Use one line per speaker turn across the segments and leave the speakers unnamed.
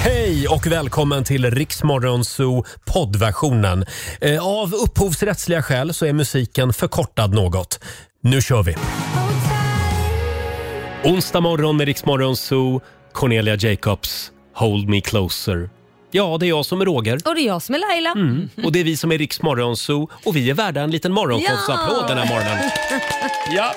Hej och välkommen till Riksmorgonzoo poddversionen. Eh, Av upphovsrättsliga skäl så är musiken förkortad något. Nu kör vi! Onsdag morgon med Riksmorgonzoo, Cornelia Jacobs, Hold Me Closer. Ja, det är jag som är Roger.
Och det är jag som är Laila.
Mm. Och det är vi som är Riksmorgonzoo och vi är värda en liten morgonshowsapplåd den här morgonen. Ja.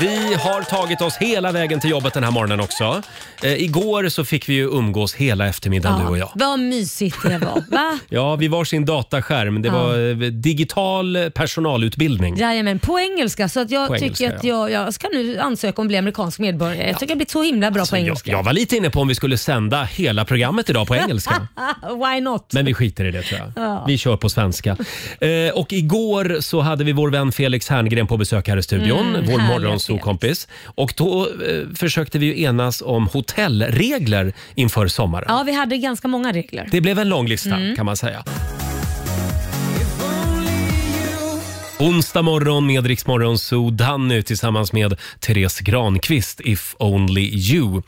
Vi har tagit oss hela vägen till jobbet den här morgonen också. Eh, igår så fick vi ju umgås hela eftermiddagen du och jag.
Vad mysigt det var. Va?
Ja, vid varsin dataskärm. Det
Ja.
var eh, digital personalutbildning.
Jajamän, på engelska. Så att jag
På
tycker
engelska,
att
ja.
jag, jag ska nu ansöka om att bli amerikansk medborgare. Jag tycker jag har blivit så himla bra på
Så Alltså, jag,
engelska.
jag var lite inne på om vi skulle sända hela programmet idag på engelska.
Why not?
Men vi skiter i det tror jag.
Ja.
Vi kör på svenska. Eh, och igår så hade vi vår vän Felix Herngren på besök här i studion.
Mm,
vår
härliga
morgonsokompis. Och då eh, försökte vi ju enas om hotellregler inför sommaren.
Ja, vi hade ganska många regler.
Det blev en lång lista
Mm.
kan man säga. Onsdag morgon med Rix Morgon Zoo, Danny tillsammans med Therese Granqvist, If Only You.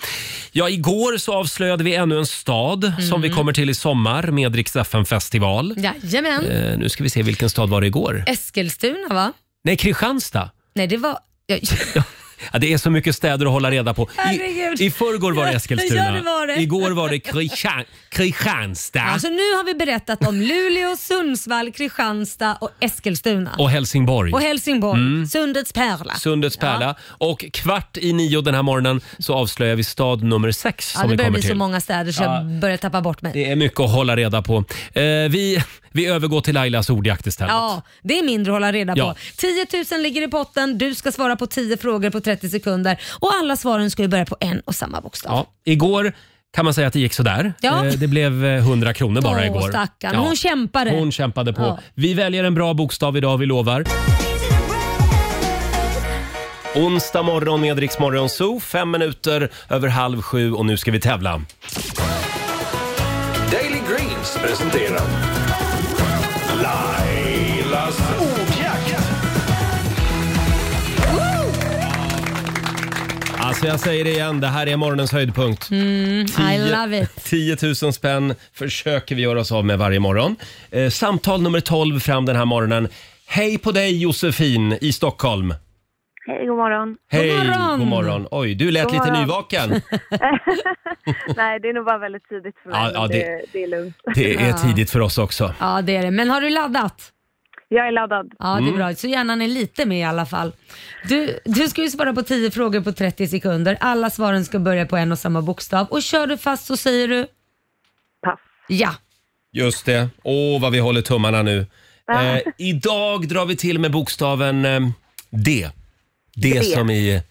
Ja, igår så avslöjade vi ännu en stad som
Mm.
vi kommer till i sommar med Rix festival
Jajamän.
eh, Nu ska vi se, vilken stad var det igår?
Eskilstuna va?
Nej, Kristianstad.
Nej, det var... Jag,
Ja, det är så mycket städer att hålla reda på.
Herregud.
I, i förrgår var det Eskilstuna.
Ja, det var det.
Igår var det Kristian, Kristianstad.
Alltså nu har vi berättat om Luleå, Sundsvall, Kristianstad och Eskilstuna.
Och Helsingborg.
Och Helsingborg.
Mm.
Sundets pärla.
Sundets pärla. Och kvart i nio den här morgonen så avslöjar vi stad nummer sex
Ja,
som
det
vi
börjar
kommer
bli
till.
så många städer så
Ja.
jag börjar tappa bort mig.
Det är mycket att hålla reda på. Eh, vi, vi övergår till Lailas ordjakt istället.
Ja, det är mindre att hålla reda
Ja.
på. 10 000 ligger i potten, du ska svara på 10 frågor på 30 sekunder och alla svaren ska ju börja på en och samma bokstav.
Ja, igår kan man säga att det gick sådär.
Ja.
Eh, det blev eh, 100 kronor bara
Åh,
igår.
stackarn.
Ja.
Hon kämpade.
Hon kämpade på.
Ja.
Vi väljer en bra bokstav idag, vi lovar. Onsdag morgon med Rix Morgon Zoo, fem minuter över halv sju och nu ska vi tävla.
Daily Greens presenterar Lailas ordjakt.
Alltså jag säger det igen, det här är morgonens höjdpunkt.
Mm, I love it.
10 000 spänn försöker vi göra oss av med varje morgon. Eh, samtal nummer 12 fram den här morgonen. Hej på dig Josefin i Stockholm.
Hej, god morgon.
Hej, god morgon. Oj, du lät
God
lite
morgon.
nyvaken.
Nej, det är nog bara väldigt tidigt för mig.
Ja, ja,
men
det-
det, det, är lugnt.
Det är tidigt för oss också.
Ja, det är det. Men har du laddat?
Jag är laddad.
Ja, det är
Mm.
bra. Så hjärnan är lite med i alla fall. Du, du ska ju svara på 10 frågor på 30 sekunder. Alla svaren ska börja på en och samma bokstav. Och kör du fast så säger du?
Pass.
Ja.
Just det. Åh, vad vi håller tummarna nu. Eh, idag drar vi till med bokstaven eh, D. D
D.
som i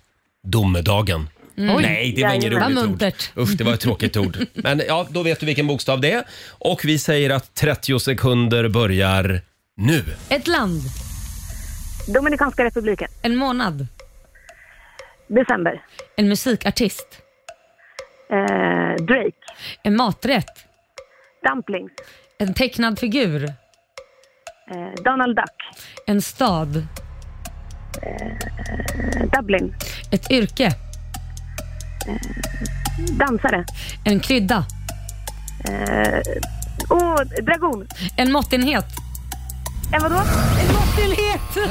domedagen.
Mm. Oj.
Nej, det var inget
Jajamän. Vad
roligt ord.
muntert.
Usch, det var ett tråkigt ord. Men ja, då vet du vilken bokstav det är. Och vi säger att 30 sekunder börjar nu.
Ett land.
Dominikanska republiken.
En månad.
December.
En musikartist.
Eh, Drake.
En maträtt.
Dumplings.
En tecknad figur.
Eh, Donald Duck.
En stad.
Eh, Dublin.
Ett yrke.
Dansare.
En krydda.
Eh, oh, dragon.
En måttenhet.
En vadå?
En måttenhet!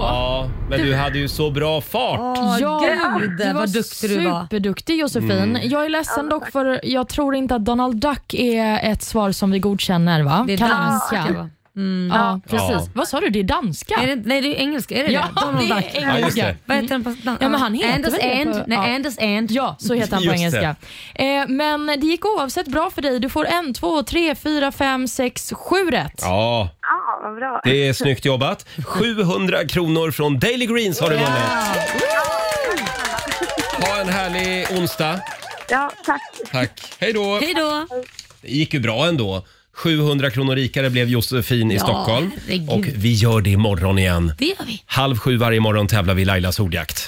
Ja, men du hade ju så bra fart.
Åh,
Ja,
gud
du
vad duktig du var.
Superduktig Josefin.
Mm.
Jag är ledsen dock för jag tror inte att Donald Duck är ett svar som vi godkänner va?
Det är danska. va? Mm.
Ja, precis.
Ja.
Vad sa du? Det är danska?
Är det, nej, det är engelska. Är det
Ja,
det? Donald
det är
Duck.
Ja,
engelska.
just det.
Vad heter den på
Ja, men han heter
Anders
väl det
and,
på-
nej,
ja.
Anders and.
Ja, så heter han på
Just
engelska. Eh, men det gick oavsett bra för dig. Du får en, två, tre, fyra, fem, sex, sju rätt.
Ja,
Ja, vad bra.
det är snyggt jobbat. 700 kronor från Daily Greens har du vunnit. Ha en härlig onsdag.
Ja, tack.
Tack. Hej då.
Hej då!
Det gick ju bra ändå. 700 kronor rikare blev Josefin i
Ja,
Stockholm.
herregud.
Och vi gör det imorgon igen.
Det gör vi.
Halv sju varje morgon tävlar vi i Lailas ordjakt.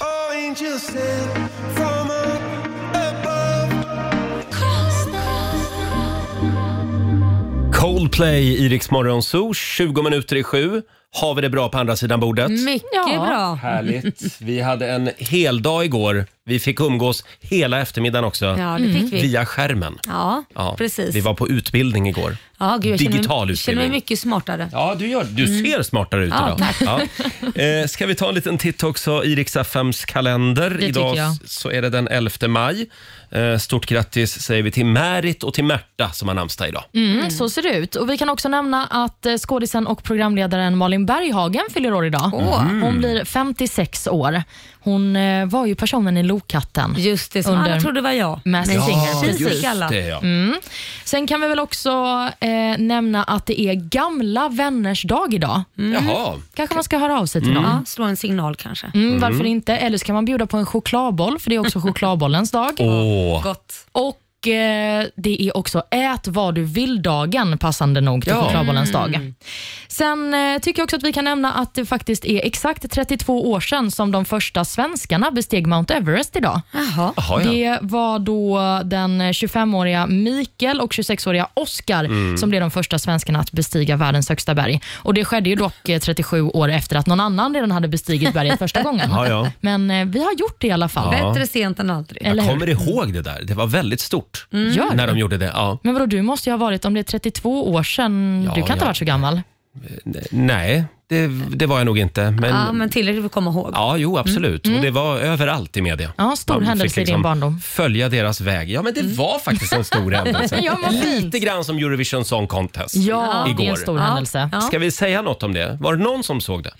Coldplay i Rix Morgon Zoo, 20 minuter i sju. har vi det bra på andra sidan bordet.
Mycket
Ja.
bra.
Härligt. Vi hade en hel dag igår. Vi fick umgås hela eftermiddagen också.
Ja, det
Mm.
fick vi.
Via skärmen.
Ja,
Ja,
precis.
Vi var på utbildning igår.
ja, gud, jag
digital
känner mig, känner mig
utbildning.
mycket smartare.
Ja, du, gör, du ser smartare ut
Ja,
idag. Ja. Mm. Eh, ska vi ta en liten titt också i Rix FMs kalender?
tycker
idag
jag.
s- så är det den 11 maj. Eh, stort grattis säger vi till Märit och till Märta som har namnsdag idag.
Mm, så ser det ut. Och Vi kan också nämna att eh, skådisen och programledaren Malin Berghagen fyller år idag.
Mm.
Hon blir 56 år. Hon eh, var ju personen i Lokatten.
Just det, som
Under-
alla trodde var jag.
Masked
Men
Singer,
tjejer
precis.
fick alla.
det. Ja.
Sen kan vi väl också eh, nämna att det är gamla vänners dag idag.
Mm. Jaha.
Kanske man ska höra av sig till
Mm.
dem.
Ja, slå en signal kanske.
Mm, varför inte? Eller så kan man bjuda på en chokladboll, för det är också chokladbollens dag.
Åh.
Gott.
Och eh, det är också ät vad du vill-dagen, passande nog till
Ja. Mm.
chokladbollens dag. Sen eh, tycker jag också att vi kan nämna att det faktiskt är exakt 32 år sedan som de första svenskarna besteg Mount Everest idag.
Jaha.
Jaha, ja.
Det var då den 25-åriga Mikael och 26-åriga Oskar
Mm.
som blev de första svenskarna att bestiga världens högsta berg. Och Det skedde ju dock eh, 37 år efter att någon annan redan hade bestigit berget första gången.
Ja, ja.
Men eh, vi har gjort det i alla fall.
Ja.
Bättre sent än aldrig.
Eller
Jag
hur?
kommer ihåg det där. Det var väldigt stort
Gör
när
det.
de gjorde det. Ja.
Men vadå, du måste ju ha varit, om det är 32 år sedan,
Ja,
du kan inte
ja.
ha varit så gammal.
N- Nej, det, det var jag nog inte. Men,
Ja, men tillräckligt för att komma ihåg.
Ja, jo absolut. Och det var överallt i media.
Ja, stor
fick liksom-
händelse i din barndom.
Följa deras väg. Ja, men det var faktiskt en stor händelse.
Ja, vad fint.
Lite grann som Eurovision Song Contest.
Ja, det är
Igår.
en stor
Ja.
händelse.
Ja.
Ska vi säga något om det? Var det någon som såg det?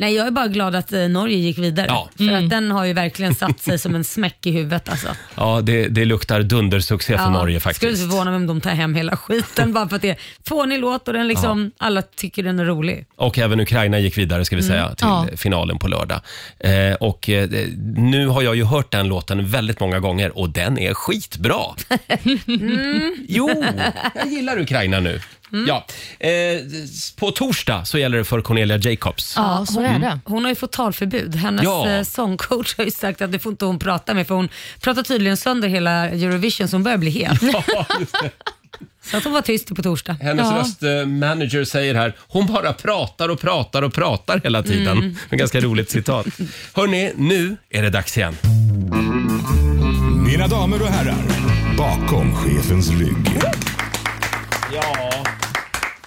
Nej, jag är bara glad att eh, Norge gick vidare.
Ja.
För
Mm.
att den har ju verkligen satt sig som en smäck i huvudet alltså.
Ja, det, det luktar dundersuccé för Norge
Skulle
faktiskt.
inte förvåna mig om de tar hem hela skiten bara för att det är en fånig låt och den liksom, alla tycker den är rolig.
Och även Ukraina gick vidare ska vi säga till
Mm. Ja.
finalen på lördag. Eh, och eh, nu har jag ju hört den låten väldigt många gånger och den är skitbra.
Mm.
Jo, jag gillar Ukraina nu. Ja. Eh, på torsdag så gäller det för Cornelia Jacobs.
Ja, så är
Mm.
det.
Hon har ju fått talförbud. Hennes
Ja.
eh, sångcoach har ju sagt att det får inte hon prata med för hon pratar tydligen sönder hela Eurovision så hon börjar bli het. så att hon var tyst på torsdag.
Hennes
Ja.
röstmanager säger här, hon bara pratar och pratar och pratar hela tiden.
Mm.
En ganska roligt citat. Hörni, nu är det dags igen.
Mina damer och herrar, bakom chefens rygg.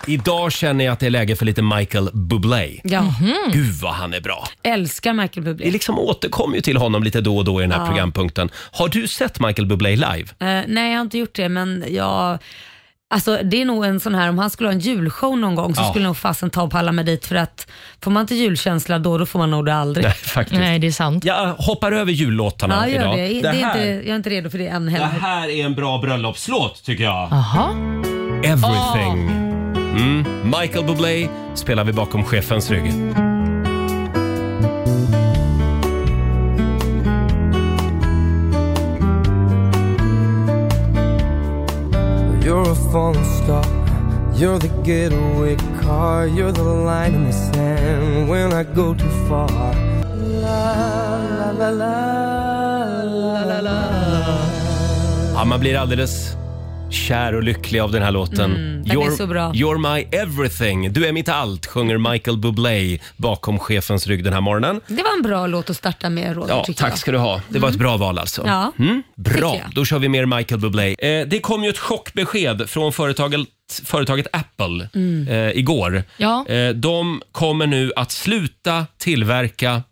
Idag känner jag att det är läge för lite Michael Bublé.
Ja, Mm.
Gud vad han är bra.
älskar Michael
Vi
Bublé.
liksom återkommer ju till honom lite då och då i den här programpunkten. Har du sett Michael Bublé live?
Eh, nej, jag har inte gjort det men jag... Alltså det är nog en sån här, om han skulle ha en julshow någon gång så
Ja.
skulle nog fasen ta och palla mig dit för att får man inte julkänsla då, då får man nog det aldrig.
Nej, faktiskt.
Nej, det är sant.
Jag hoppar över jullåtarna
Ja, gör
idag.
det. det, är inte, jag är inte redo för det än
det
heller.
här är en bra bröllopslåt tycker jag.
Jaha.
Everything. Mm. Michael Bublé spelar vi bakom chefens rygg.
You're a falling star. You're the getaway car. You're the line in the sand when I go too far. La la la la la la la.
Ja, man blir alldeles kär och lycklig av Mm, den här låten.
den är så bra.
you're my everything, du är mitt allt, sjunger Michael Bublé bakom chefens rygg den här morgonen.
Det var en bra låt att starta med Roger
Ja,
tycker
tack
jag.
ska du ha. Det var ett bra val alltså.
Ja,
Mm, bra,
tycker jag.
då kör vi mer Michael Bublé. Eh, det kom ju ett chockbesked från företaget, företaget Apple eh, igår.
Ja.
Eh, de kommer nu att sluta tillverka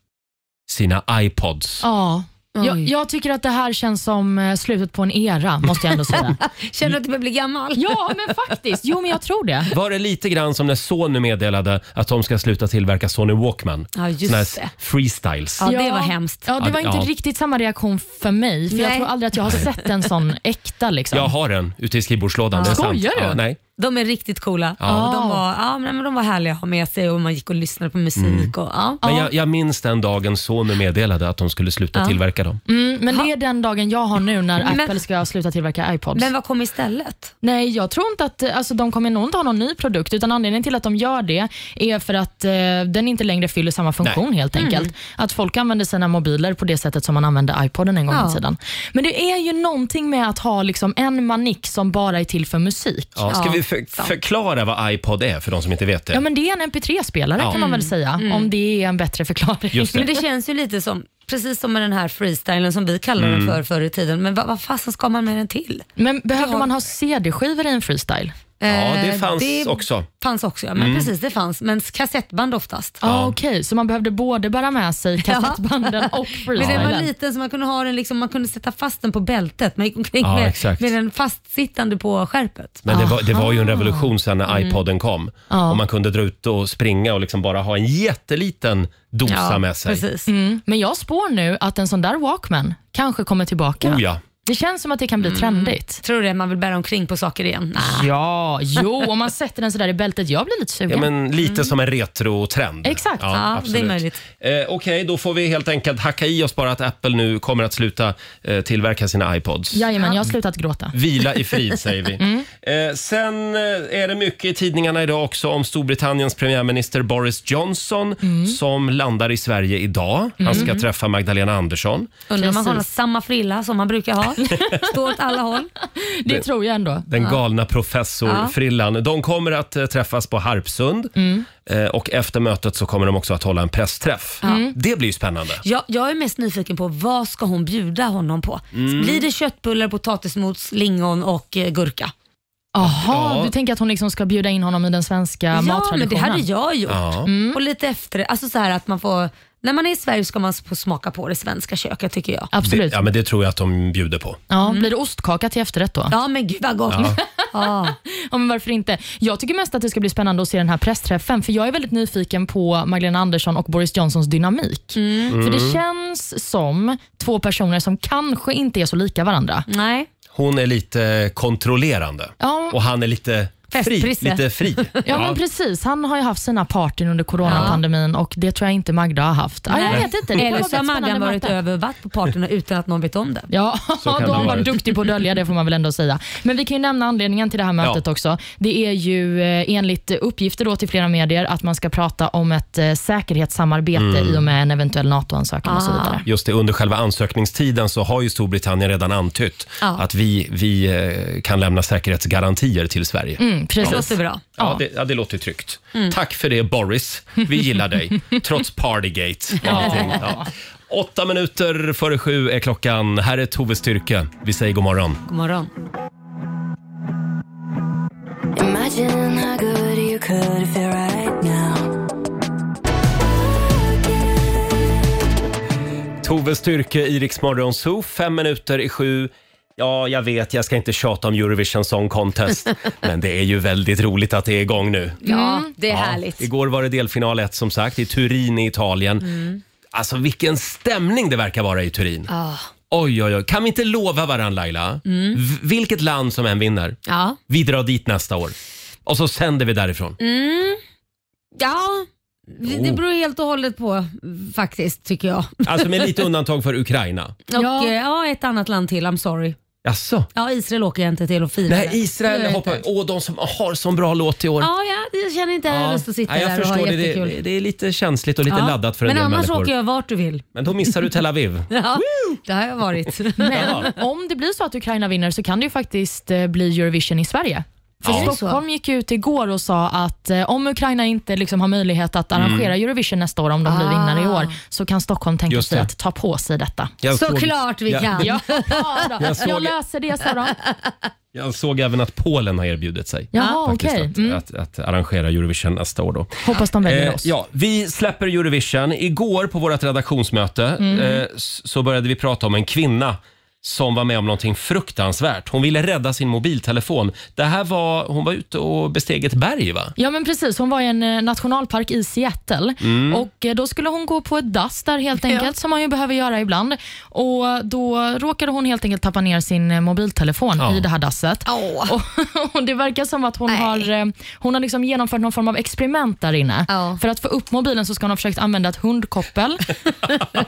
sina iPods.
Ja. Jag,
Oj.
jag tycker att det här känns som eh, slutet på en era, måste jag ändå säga.
Känner du att du börjar bli gammal?
ja, men faktiskt. Jo, men jag tror det.
Var det lite grann som när Sony meddelade att de ska sluta tillverka Sony Walkman?
Ja, just
Såna
det.
här freestyles.
Ja, det var hemskt.
Ja, det var inte
Ja.
riktigt samma reaktion för mig, för jag
Nej.
tror aldrig att jag har sett en sån äkta. Liksom.
Jag har en ute i skrivbordslådan. Det är sant.
Skojar du?
Ja, nej.
De är riktigt coola.
Ja.
De, var, ja, men de var härliga att ha med sig och man gick och lyssnade på musik.
Mm.
Och, ja.
Men jag, jag minns den dagen Sony meddelade att de skulle sluta tillverka dem.
Mm, men det är den dagen jag har nu när
Men-
Apple ska sluta tillverka iPods.
Men vad kom istället?
Nej, jag tror inte att alltså, de kommer nog inte ha någon ny produkt, utan anledningen till att de gör det är för att eh, den inte längre fyller samma funktion helt enkelt. Att folk använder sina mobiler på det sättet som man använde iPoden en gång
Ja.
i tiden. Men det är ju någonting med att ha liksom, en manik som bara är till för musik.
Ja, ska
Ja.
vi
sant.
för, förklara vad iPod är för de som inte vet det.
Ja, men det är en mp3-spelare
Ja.
kan man väl säga, om det är en bättre förklaring.
Just det.
Men det känns ju lite som, precis som med den här freestylen som vi kallade
Mm.
den för förr i tiden. Men vad, vad fasen ska man med den till?
Men behövde man ha CD-skivor i en freestyle?
Ja, det
Eh,
fanns också. Mm.
fanns också, ja. Men precis, det fanns. Men kassettband oftast.
Ja, Ah, okej. Så man behövde både bära med sig kassettbanden och
Men den var
freestylen?
liten så man kunde, ha den liksom, man kunde sätta fast den på bältet. Man gick omkring
Ja,
med,
exakt.
med den fastsittande på skärpet.
Men det var, det var ju en revolution sen när iPoden kom.
Ja.
Och man kunde dra ut och springa och liksom bara ha en jätteliten dosa med sig.
precis.
Mm. Men jag spår nu att en sån där Walkman kanske kommer tillbaka.
Oh ja.
Det känns som att det kan bli trendigt.
Tror du det? Man vill bära omkring på saker igen? Nej.
Ja, jo, om man sätter den sådär i bältet. Jag blir lite sugen.
Ja, men lite som en retrotrend.
Exakt.
Mm. Ja,
absolut.
det är möjligt.
Eh, Okej, då får vi helt enkelt hacka i oss bara att Apple nu kommer att sluta eh, tillverka sina iPods.
Jajamän, jag har slutat gråta.
Vila i frid, säger vi.
Mm.
Eh, sen eh, är det mycket i tidningarna idag också om Storbritanniens premiärminister Boris Johnson
Mm.
som landar i Sverige idag. Han ska träffa Magdalena Andersson.
Undrar om man
Precis.
har samma frilla som man brukar ha. Står åt alla håll.
Det, tror jag ändå.
Den galna professorfrillan. De kommer att eh, träffas på Harpsund
Mm.
eh, och efter mötet så kommer de också att hålla en pressträff. Det blir ju spännande.
Jag, jag är mest nyfiken på vad ska hon bjuda honom på?
Mm.
Blir det köttbullar, potatismos, lingon och eh, gurka?
Jaha,
Ja.
du tänker att hon liksom ska bjuda in honom i den svenska
ja, men det
mattraditionen?
hade jag gjort.
Ja.
Och lite efter alltså så här att man får, när man är i Sverige ska man få smaka på det svenska köket tycker jag.
Absolut.
Det, ja, men det tror jag att de bjuder på.
Ja, blir det ostkaka till efterrätt då?
Ja men gud vad gott. Ja.
Ja, men varför inte? Jag tycker mest att det ska bli spännande att se den här pressträffen, för jag är väldigt nyfiken på Magdalena Andersson och Boris Johnsons dynamik. För det känns som två personer som kanske inte är så lika varandra.
Nej.
Hon är lite kontrollerande
Ja.
och han är lite fri.
Festprisse.
Lite fri.
Ja, men precis. Han har ju haft sina partyn under coronapandemin och det tror jag inte Magda har haft. Ja, jag
Nej.
vet inte. Det kan
Eller
vara
så har
ett
Maggan
spännande
varit
möte.
över vatt på parterna utan att någon vet om det.
Ja,
kan det
de
ha
var
varit.
duktiga på att dölja det får man väl ändå säga. Men vi kan ju nämna anledningen till det här mötet
Ja.
också. Det är ju eh, enligt uppgifter då till flera medier att man ska prata om ett eh, säkerhetssamarbete i och med en eventuell NATO-ansökan och så vidare.
Just det, under själva ansökningstiden så har ju Storbritannien redan antytt
Ja.
att vi, vi eh, kan lämna säkerhetsgarantier till Sverige.
Mm,
Det
precis.
låter bra.
Ja, det, ja, det låter ju tryggt. Tack för det Boris. Vi gillar dig, trots partygate. och allting. Ja. Åtta minuter före sju är klockan. Här är Tove Styrke. Vi säger god morgon.
God morgon.
Imagine how good you could feel right now.
Tove Styrke i Rix Morgon Zoo, fem minuter i sju. Ja, jag vet, jag ska inte tjata om Eurovision Song Contest, men det är ju väldigt roligt att det är igång nu.
Ja, Mm, det är
Ja,
härligt.
Igår var det delfinal 1 som sagt, i Turin i Italien.
Mm.
Alltså vilken stämning det verkar vara i Turin.
Ah.
Oj, oj, oj. Kan vi inte lova varandra Laila?
Mm.
V- vilket land som än vinner,
Ja.
vi drar dit nästa år. Och så sänder vi därifrån.
Mm. ja, det
Oh.
beror helt och hållet på faktiskt tycker jag.
Alltså med lite undantag för Ukraina.
Och
Ja.
ja. ja, ett annat land till, I'm sorry.
Jaså?
Ja, Israel åker jag inte till och firar.
Nej,
det. Det gör
Israel
jag
hoppar...
inte.
Åh, de som har sån bra låt i år.
Ja, ja, jag känner inte att jag har lust att sitta
Nej, jag
där och ha
förstår det.
jättekul.
Det, det är lite känsligt och lite
Ja.
laddat för en
Men
del
annars
människor.
åker jag vart du vill.
Men då missar du Tel Aviv.
Ja, det har jag varit.
Men om det blir så att Ukraina vinner så kan det ju faktiskt eh, bli Eurovision i Sverige. För
Ja.
Stockholm gick ut igår och sa att eh, om Ukraina inte liksom har möjlighet att arrangera Eurovision nästa år, om de blir vinnare i år, så kan Stockholm tänka
Mm. Ah. Just
sig
det.
att ta på sig detta.
Jag
Såklart vi
jag,
kan.
Ja, ja då.
Jag såg-
jag löser det sa de.
Jag såg även att Polen har erbjudit sig.
Jaha,
faktiskt
okej.
att,
Mm.
att, att arrangera Eurovision nästa år. Då.
Hoppas de väljer
Eh,
oss.
ja, vi släpper Eurovision. Igår på vårt redaktionsmöte
Mm.
eh, s- så började vi prata om en kvinna som var med om någonting fruktansvärt. Hon ville rädda sin mobiltelefon. Det här var, hon var ute och besteg ett berg va?
Ja men precis, hon var i en eh, nationalpark i Seattle
Mm.
och eh, då skulle hon gå på ett dass där helt enkelt, som man ju behöver göra ibland. Och Då råkade hon helt enkelt tappa ner sin eh, mobiltelefon
Ja.
i det här dasset.
Åh.
Och, och Det verkar som att hon har, eh, hon har liksom genomfört någon form av experiment där inne.
Ja.
För att få upp mobilen så ska hon ha försökt använda ett hundkoppel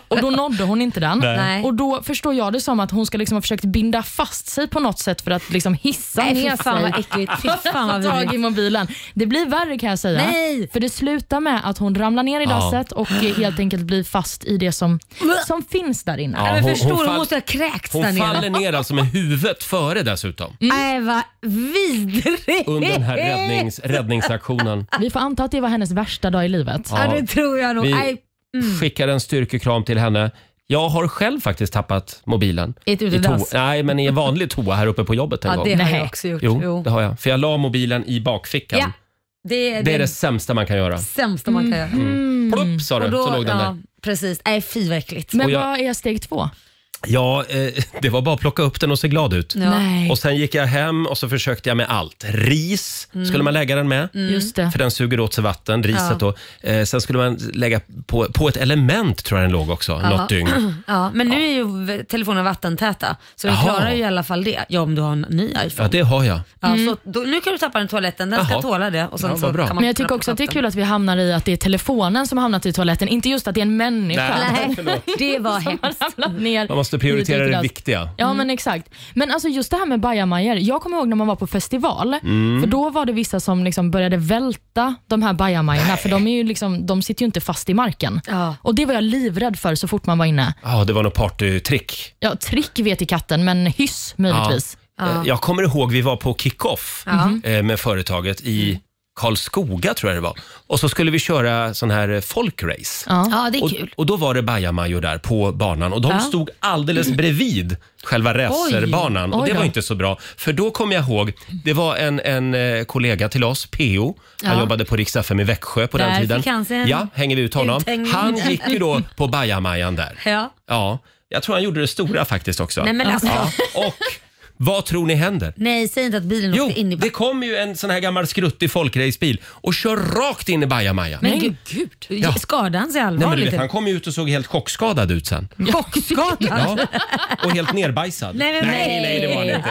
och då nådde hon inte den.
Nej.
Och Då förstår jag det som att hon hon ska liksom ha försökt binda fast sig på något sätt för att liksom hissa
Nej, fy
ner
fan
sig.
vad äckligt. Fy fan vad
Ta tag i
vidrigt.
mobilen. Det blir värre kan jag säga.
Nej!
För det slutar med att hon ramlar ner i
Ja.
dasset och eh, helt enkelt blir fast i det som, som finns där inne.
Ja,
Men förstår du, hon
fall-
måste ha kräkts där
hon faller
nere.
ner alltså med huvudet före dessutom.
Nej vad vidrigt.
Mm. Under den här räddnings, räddningsaktionen.
Vi får anta att det var hennes värsta dag i livet.
Ja det tror jag nog.
Vi-
Nej,
Skickar en styrkekram till henne. Jag har själv faktiskt tappat mobilen.
I ett
I to-
utedass.
Nej, men i en vanlig toa här uppe på jobbet en
Ja
gång.
det har
Nej.
jag också gjort.
Jo, det har jag. För jag la mobilen i bakfickan.
Ja, det är
Det
det,
är det sämsta man kan göra.
sämsta man kan göra. Mm.
Plopp sa du,
Och då-
så låg den
ja,
där.
Precis. Nej fy vad äckligt.
Men
Och jag-
vad är steg två?
Ja, eh, det var bara att plocka upp den och se glad ut.
Ja.
Nej,
Och sen gick jag hem och så försökte jag med allt. Ris
Mm.
skulle man lägga den med.
just det.
För den suger åt sig vatten, riset då. Eh, sen skulle man lägga på, på ett element tror jag den låg också, något dygn.
Ja, men nu är ju v- telefonen vattentäta så den
Jaha.
klarar ju i alla fall det. Ja om du har en ny
Ja,
iPhone.
det har jag.
Ja, så då, nu kan du tappa den i toaletten, den
Jaha.
ska tåla det. Och sen
Ja, vad bra.
så Kan man
Mm. Men jag tycker
knappa
också att det är
upp
kul att vi hamnar i att det är telefonen som har hamnat i toaletten, inte just att det är en människa.
Nej.
den. Nej, det var
Man,
hemskt. Mm.
ramlat ner
Man måste
i
prioritera
ett
det
glas.
viktiga.
Ja men exakt. Men alltså just det här med bajamajor. Jag kommer ihåg när man var på festival.
Mm.
För då var det vissa som liksom började välta de här bajamajorna. För de, är ju liksom, de sitter ju inte fast i marken.
Ja.
Och det var jag livrädd för så fort man var inne.
Ja, det var något partytrick.
Ja, trick vet i katten, men hyss möjligtvis.
Eh, Jag kommer ihåg, vi var på kick-off
Mm-hmm.
eh, med företaget i
Mm.
Karlskoga tror jag det var. Och så skulle vi köra sån här eh, folkrace.
Ja, det är
Och,
kul.
och då var det bajamajor där på banan och de stod alldeles bredvid själva racerbanan. Och
Oj
det
då.
var inte så bra. För då kom jag ihåg, det var en, en eh, kollega till oss, PO. Han jobbade på Rix FM i Växjö på den
Där
tiden.
fick han sig en
ja, hänger vi ut honom.
uthängning.
Han gick ju då på bajamajan där.
Ja.
Ja, jag tror han gjorde det stora faktiskt också.
Nej men alltså.
Och vad tror ni händer?
Nej, säg inte att bilen
Jo,
åkte in i
det kom ju en sån här gammal skruttig folkracebil och kör rakt in i bajamajan.
Men gud, gud.
Ja.
skadade han sig
Nej, men du
allvarligt?
vet, han kom ju ut och såg helt chockskadad ut sen.
Chockskadad?
Ja, och helt nerbajsad.
Nej, men
nej,
nej.
nej, det var han inte.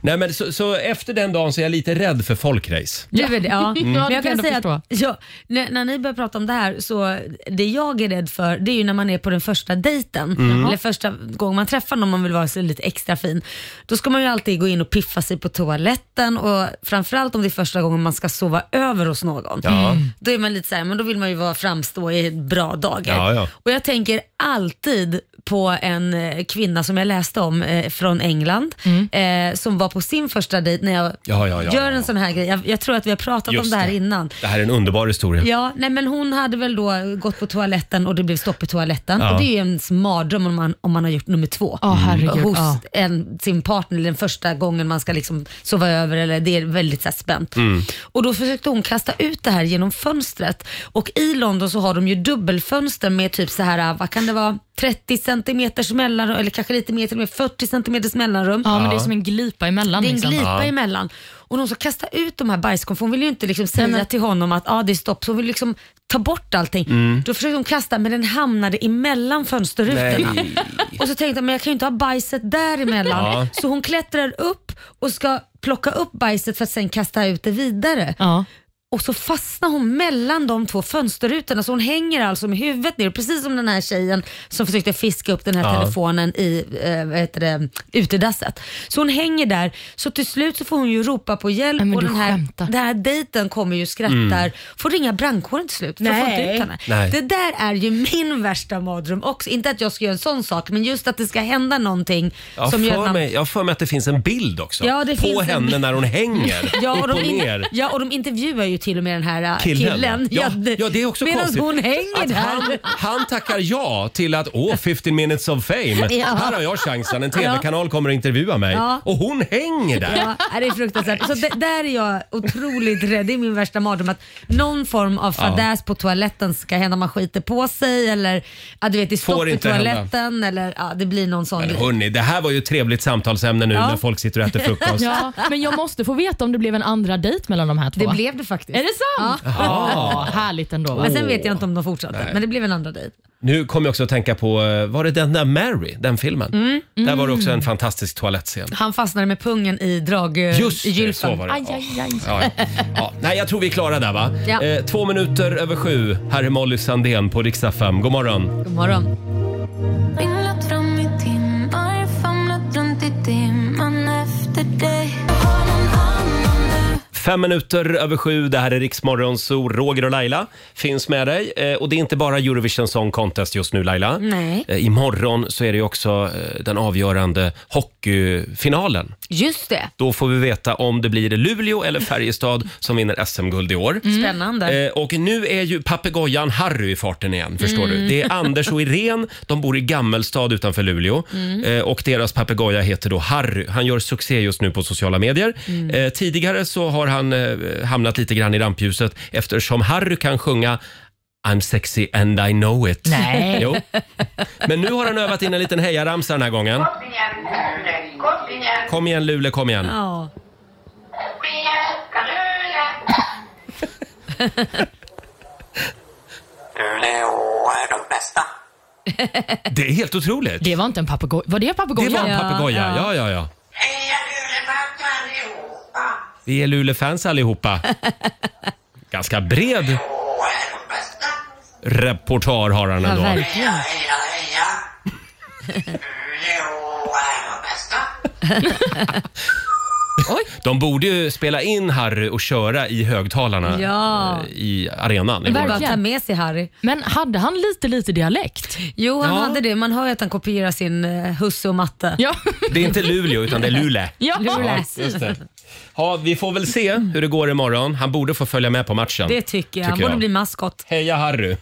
Nej, men så, så efter den dagen så är jag lite rädd för folkrace.
Du är det, ja. Men
det
jag
kan
kan
jag
säga
förstå.
att ja, när, när ni börjar prata om det här så det jag är rädd för det är ju när man är på den första dejten eller första gången man träffar någon man vill vara så lite extra fin. Då ska man ju alltid gå in och piffa sig på toaletten och framförallt om det är första gången man ska sova över hos någon.
Ja. Mm.
Då är man lite så här, men då vill man ju vara framstå i bra dagar.
Ja, ja.
Och jag tänker alltid på en eh, kvinna som jag läste om eh, från England eh, som var på sin första dejt när jag
Ja, ja, ja,
gör
ja, ja.
en sån här grej. Jag, jag tror att vi har pratat om
Just
det här
det.
innan.
Det här är en underbar historia.
Ja, nej men hon hade väl då gått på toaletten och det blev stopp i toaletten.
Ja.
Och det är ju ens mardröm om man, om man har gjort nummer två.
Ja,
Mm.
herregud.
Mm. Hos
Ja.
en, sin partner eller den första gången man ska liksom sova över eller det är väldigt så här, spänt.
Mm.
Och då försökte hon kasta ut det här genom fönstret och i London så har de ju dubbelfönster med typ så här, vad kan det vara, 30 centimeters mellanrum eller kanske lite mer till och med 40 centimeters mellanrum.
Ja, men det är som en glipa emellan.
Det är en
liksom.
glipa emellan. Och de ska kasta ut de här bajskorven, för hon vill ju inte liksom säga till honom att ah, det är stopp, så hon vill liksom ta bort allting.
Mm.
Då försökte hon kasta men den hamnade emellan fönsterrutorna.
Nej.
Och så tänkte hon, men jag kan ju inte ha bajset däremellan.
Ja.
Så hon klättrar upp och ska plocka upp bajset för att sen kasta ut det vidare.
Ja.
Och så fastnar hon mellan de två fönsterrutorna så hon hänger alltså med huvudet ner. Precis som den här tjejen som försökte fiska upp den här
Ja.
telefonen i eh, vad heter det, utedasset. Så hon hänger där, så till slut så får hon ju ropa på hjälp
Nej, men
och
du
den här,
skämtar.
den här dejten kommer ju och skrattar. Får ringa brandkåren till slut för att få
Nej.
inte ut henne.
Mm. Nej.
Det där är ju min värsta mardröm också. Inte att jag ska göra en sån sak, men just att det ska hända någonting
Jag
som gör att
för
man
mig, jag har för mig att det finns en bild också
Ja, det
på
finns en
henne
bild.
när hon hänger
Ja och,
upp
de
och
in,
ner.
ja, och de intervjuar ju till och med den här äh,
Killen.
killen.
Ja, ja, det är också
medan
konstigt.
hon hänger
Att
där.
han, han tackar ja till att åh, 15 minutes of fame.
Ja.
Här har jag chansen. En TV-kanal kommer att intervjua mig.
Ja.
Och hon hänger där.
Ja, nej, det är fruktansvärt. Så det, där är jag otroligt rädd. Det är min värsta mardröm att någon form av fadäs på toaletten ska hända. Man skiter på sig eller ja, du vet, det är
Får
stopp i
inte hända.
toaletten eller ja, det blir någon sån
Men
grej.
hörni, det här var ju ett trevligt samtalsämne nu
Ja.
när folk sitter och äter frukost.
Ja, men jag måste få veta om det blev en andra dejt mellan de här två.
Det blev det faktiskt.
Är det sant? Ja. härligt ändå. Va?
Men sen vet jag inte om de fortsatte. Men det blev en andra dejt.
Nu kom jag också att tänka på, eh, var det den där Mary, den filmen?
Mm,
Där var det också en fantastisk toalettscen.
Han fastnade med pungen i drag eh,
Just
i
det, så
gylfen.
var det. Ja, ja. Ja. Nej, jag tror vi är klara där va?
Ja.
Eh, två minuter över sju. Här är Molly Sandén på riksdag 5. God morgon.
God morgon.
Vinglat fram i timmar
Fem minuter över sju, det här är Riksmorgon, så Roger och Laila finns med dig. Eh, och det är inte bara Eurovision Song Contest just nu Laila.
Nej.
Eh, imorgon så är det ju också eh, den avgörande hockeyfinalen.
Just det.
Då får vi veta om det blir Luleå eller Färjestad som vinner SM-guld i år.
Spännande.
Eh, och nu är ju papegojan Harry i farten igen, förstår du. Det är Anders och Irene, de bor i Gammelstad utanför Luleå. Eh, och deras papegoja heter då Harry. Han gör succé just nu på sociala medier. Eh, tidigare så har han eh, hamnat lite grann i rampljuset eftersom Harry kan sjunga I'm sexy and I know it.
Nej.
Jo. Men nu har han övat in en liten hejaramsa den här gången. Kom igen Luleå, kom igen.
Ja.
Luleå är de bästa.
Det är helt otroligt.
Det var inte en papegoja. Var det en
Det var
papegoja?
en
Ja,
papegoja. Ja, ja, ja.
Heja Lulefans allihopa!
Vi är Luleå-fans allihopa. Ganska bred
Luleå är de bästa.
repertoar har han
Ja,
ändå.
Heja,
verkligen.
heja, heja! Luleå är de bästa.
De borde ju spela in Harry och köra i högtalarna
Ja.
eh, i arenan.
Det är bara
imorgon.
att ta med sig Harry.
Men hade han lite, lite dialekt?
Jo, han
Ja.
hade det. Man hör ju att han kopierar sin eh, husse och matte.
Ja.
Det är inte Luleå utan det är Luleå.
ja.
Luleå.
just det. Ja, vi får väl se hur det går imorgon. Han borde få följa med på matchen.
Det tycker jag. Han borde bli maskot.
Heja Harry!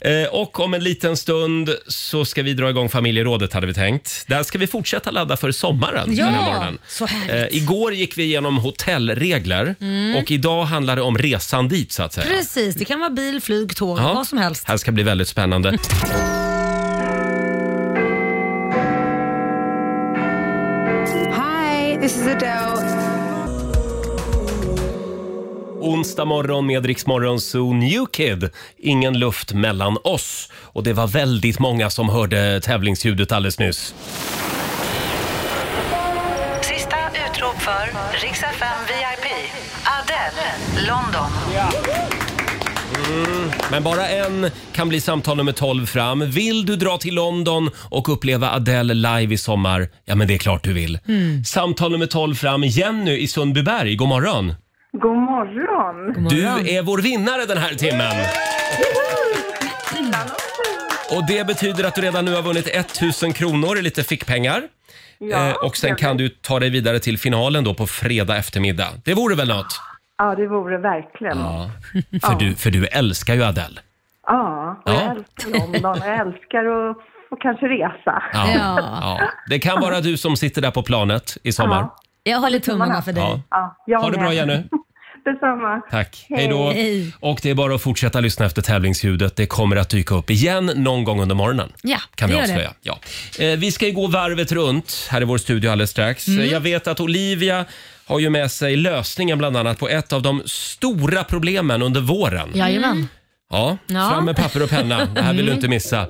eh, och om en liten stund så ska vi dra igång familjerådet hade vi tänkt. Där ska vi fortsätta ladda för sommaren.
Ja,
den här morgonen.
så härligt. Mm.
Eh, igår gick vi igenom hotellregler och idag handlar det om resan dit så att säga.
Precis, det kan vara bil, flyg, tåg,
Ja.
vad som helst.
Här ska bli väldigt spännande.
Hi, this is Adele.
Onsdag morgon med Rix Morgon Zoo New Kid. Ingen luft mellan oss. Och det var väldigt många som hörde tävlingsljudet alldeles nyss.
Sista utrop för Rix FM VIP. Adele, London.
Men bara en kan bli samtal nummer 12 fram. Vill du dra till London och uppleva Adele live i sommar? Ja, men det är klart du vill.
Mm.
Samtal nummer 12 fram. Jenny i Sundbyberg, god morgon.
God morgon!
Du är vår vinnare den här timmen. Och det betyder att du redan nu har vunnit 1000 kronor i lite fickpengar. Eh, och sen kan du ta dig vidare till finalen då på fredag eftermiddag. Det vore väl något?
Ja, det vore verkligen. Ja,
För, du, för du älskar ju Adele.
och
Ja.
jag älskar London och jag älskar att och kanske resa.
Ja.
Ja.
Ja. Det kan vara du som sitter där på planet i sommar.
Ja.
Jag håller tummarna för dig.
Ja.
Ja, jag
Ha det bra
med.
Jenny.
Detsamma.
Tack. Hej då.
Hej.
Och det är bara att fortsätta lyssna efter tävlingsljudet. Det kommer att dyka upp igen någon gång under morgonen.
Ja,
kan vi
det gör det.
avslöja. Ja. Eh, vi ska ju gå varvet runt här i vår studio alldeles strax.
Mm.
Eh, Jag vet att Olivia har ju med sig lösningen bland annat på ett av de stora problemen under våren. Ja,
Jajamän.
Ja. Mm.
fram med papper och penna. Det här vill du inte missa.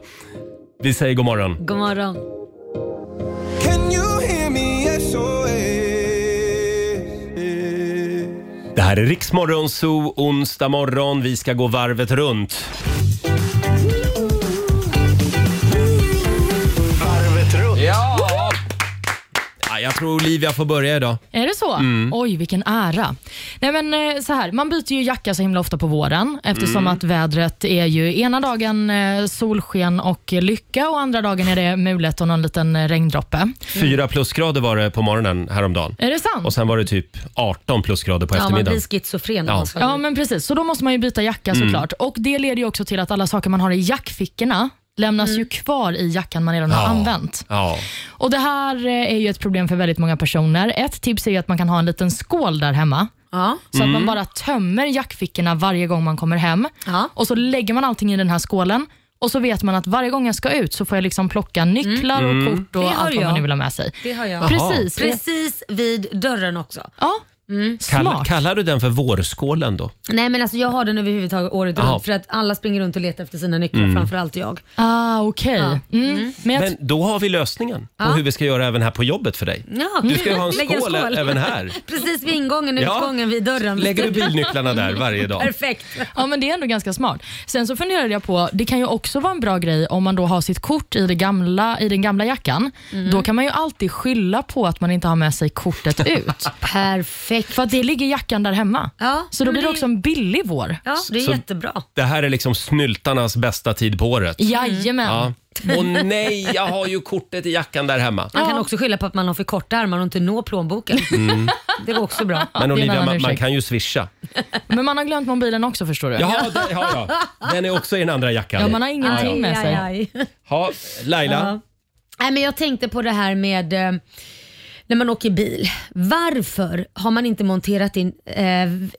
Vi säger god morgon.
God morgon.
Can you hear me SOS?
Det här är Riksmorgon Zoo, onsdag morgon. Vi ska gå varvet runt.
Varvet runt.
Ja, jag tror Olivia får börja idag.
Är det så?
Mm.
Oj, vilken ära. Nej, men, eh, så här, man byter ju jacka så himla ofta på våren eftersom
Mm.
att vädret är ju ena dagen eh, solsken och lycka och andra dagen är det mulet och någon liten eh, regndroppe.
Fyra plusgrader var det på morgonen häromdagen.
Är det sant?
Och sen var det typ 18 plusgrader på
Ja, man
eftermiddagen.
blir schizofren när
Ja.
man ska
Ja, men precis. Så då måste man ju byta jacka
Mm.
såklart. Och Det leder ju också till att alla saker man har i jackfickorna lämnas
Mm.
ju kvar i jackan man redan har
Ja.
använt.
Ja.
Och Det här eh, är ju ett problem för väldigt många personer. Ett tips är ju att man kan ha en liten skål där hemma.
Ja.
Så att man bara tömmer jackfickorna varje gång man kommer hem.
Ja.
Och så lägger man allting i den här skålen. Och så vet man att varje gång jag ska ut så får jag liksom plocka nycklar och kort och
Det har
allt vad man
jag.
nu vill ha med sig.
Det har jag.
Precis.
Precis Mm. vid dörren också.
Ja.
Kall,
Smart.
kallar du den för vårskålen då?
Nej men alltså jag har den överhuvudtaget året
Jaha.
runt för att alla springer runt och letar efter sina nycklar,
Mm.
framförallt jag.
Ah, okej. Mm. Men jag
Men då har vi lösningen på hur vi ska göra även här på jobbet för dig.
Ja,
Du ska ju ha en
lägg
skål, ä- även här.
Precis vid ingången,
Ja.
utgången, vid dörren.
Lägger du bilnycklarna där varje dag?
Perfekt.
Ja, men det är ändå ganska smart. Sen så funderade jag på, det kan ju också vara en bra grej om man då har sitt kort i, det gamla, i den gamla jackan. Då kan man ju alltid skylla på att man inte har med sig kortet ut.
Perfekt perfekt.
För att det ligger i jackan där hemma. så
men
då blir det
det-
också en billig vår.
Ja, det är
Så-
jättebra.
Det här är liksom snyltarnas bästa tid på året.
Jajamän.
Ja. Och nej, jag har ju kortet i jackan där hemma.
Man kan också skylla på att man har för korta armar och inte når plånboken.
Mm.
Det var också bra.
Men Olivia,
annan
man, man
ursäkt.
kan ju swisha.
Men man har glömt mobilen också förstår du.
Jaha, det, ja, ja. Den är också i den andra jackan.
Ja, man har ingenting
Ja, ja.
med sig.
Aj, aj.
Ja, Laila.
Ja. Nej, men jag tänkte på det här med eh, när man åker bil. Varför har man inte monterat in eh,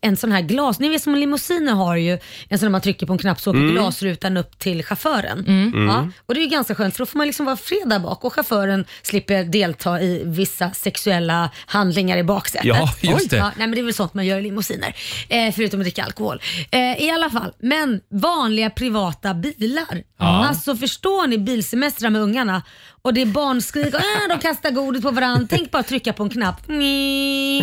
en sån här glas... Ni vet som limousiner har ju en sån där man trycker på en knapp så åker
Mm.
glasrutan upp till chauffören.
Mm.
Ja,
Mm.
och det är ju ganska skönt för då får man liksom vara fred där bak och chauffören slipper delta i vissa sexuella handlingar i baksätet.
Ja, just det.
Ja, nej, men det är väl sånt man gör i limousiner, eh, förutom att dricka alkohol. Eh, I alla fall, men vanliga privata bilar.
Ja.
Alltså förstår ni bilsemestrar med ungarna och det är barnskrik och äh, de kastar godis på varandra. Tänk bara trycka på en knapp. Ni,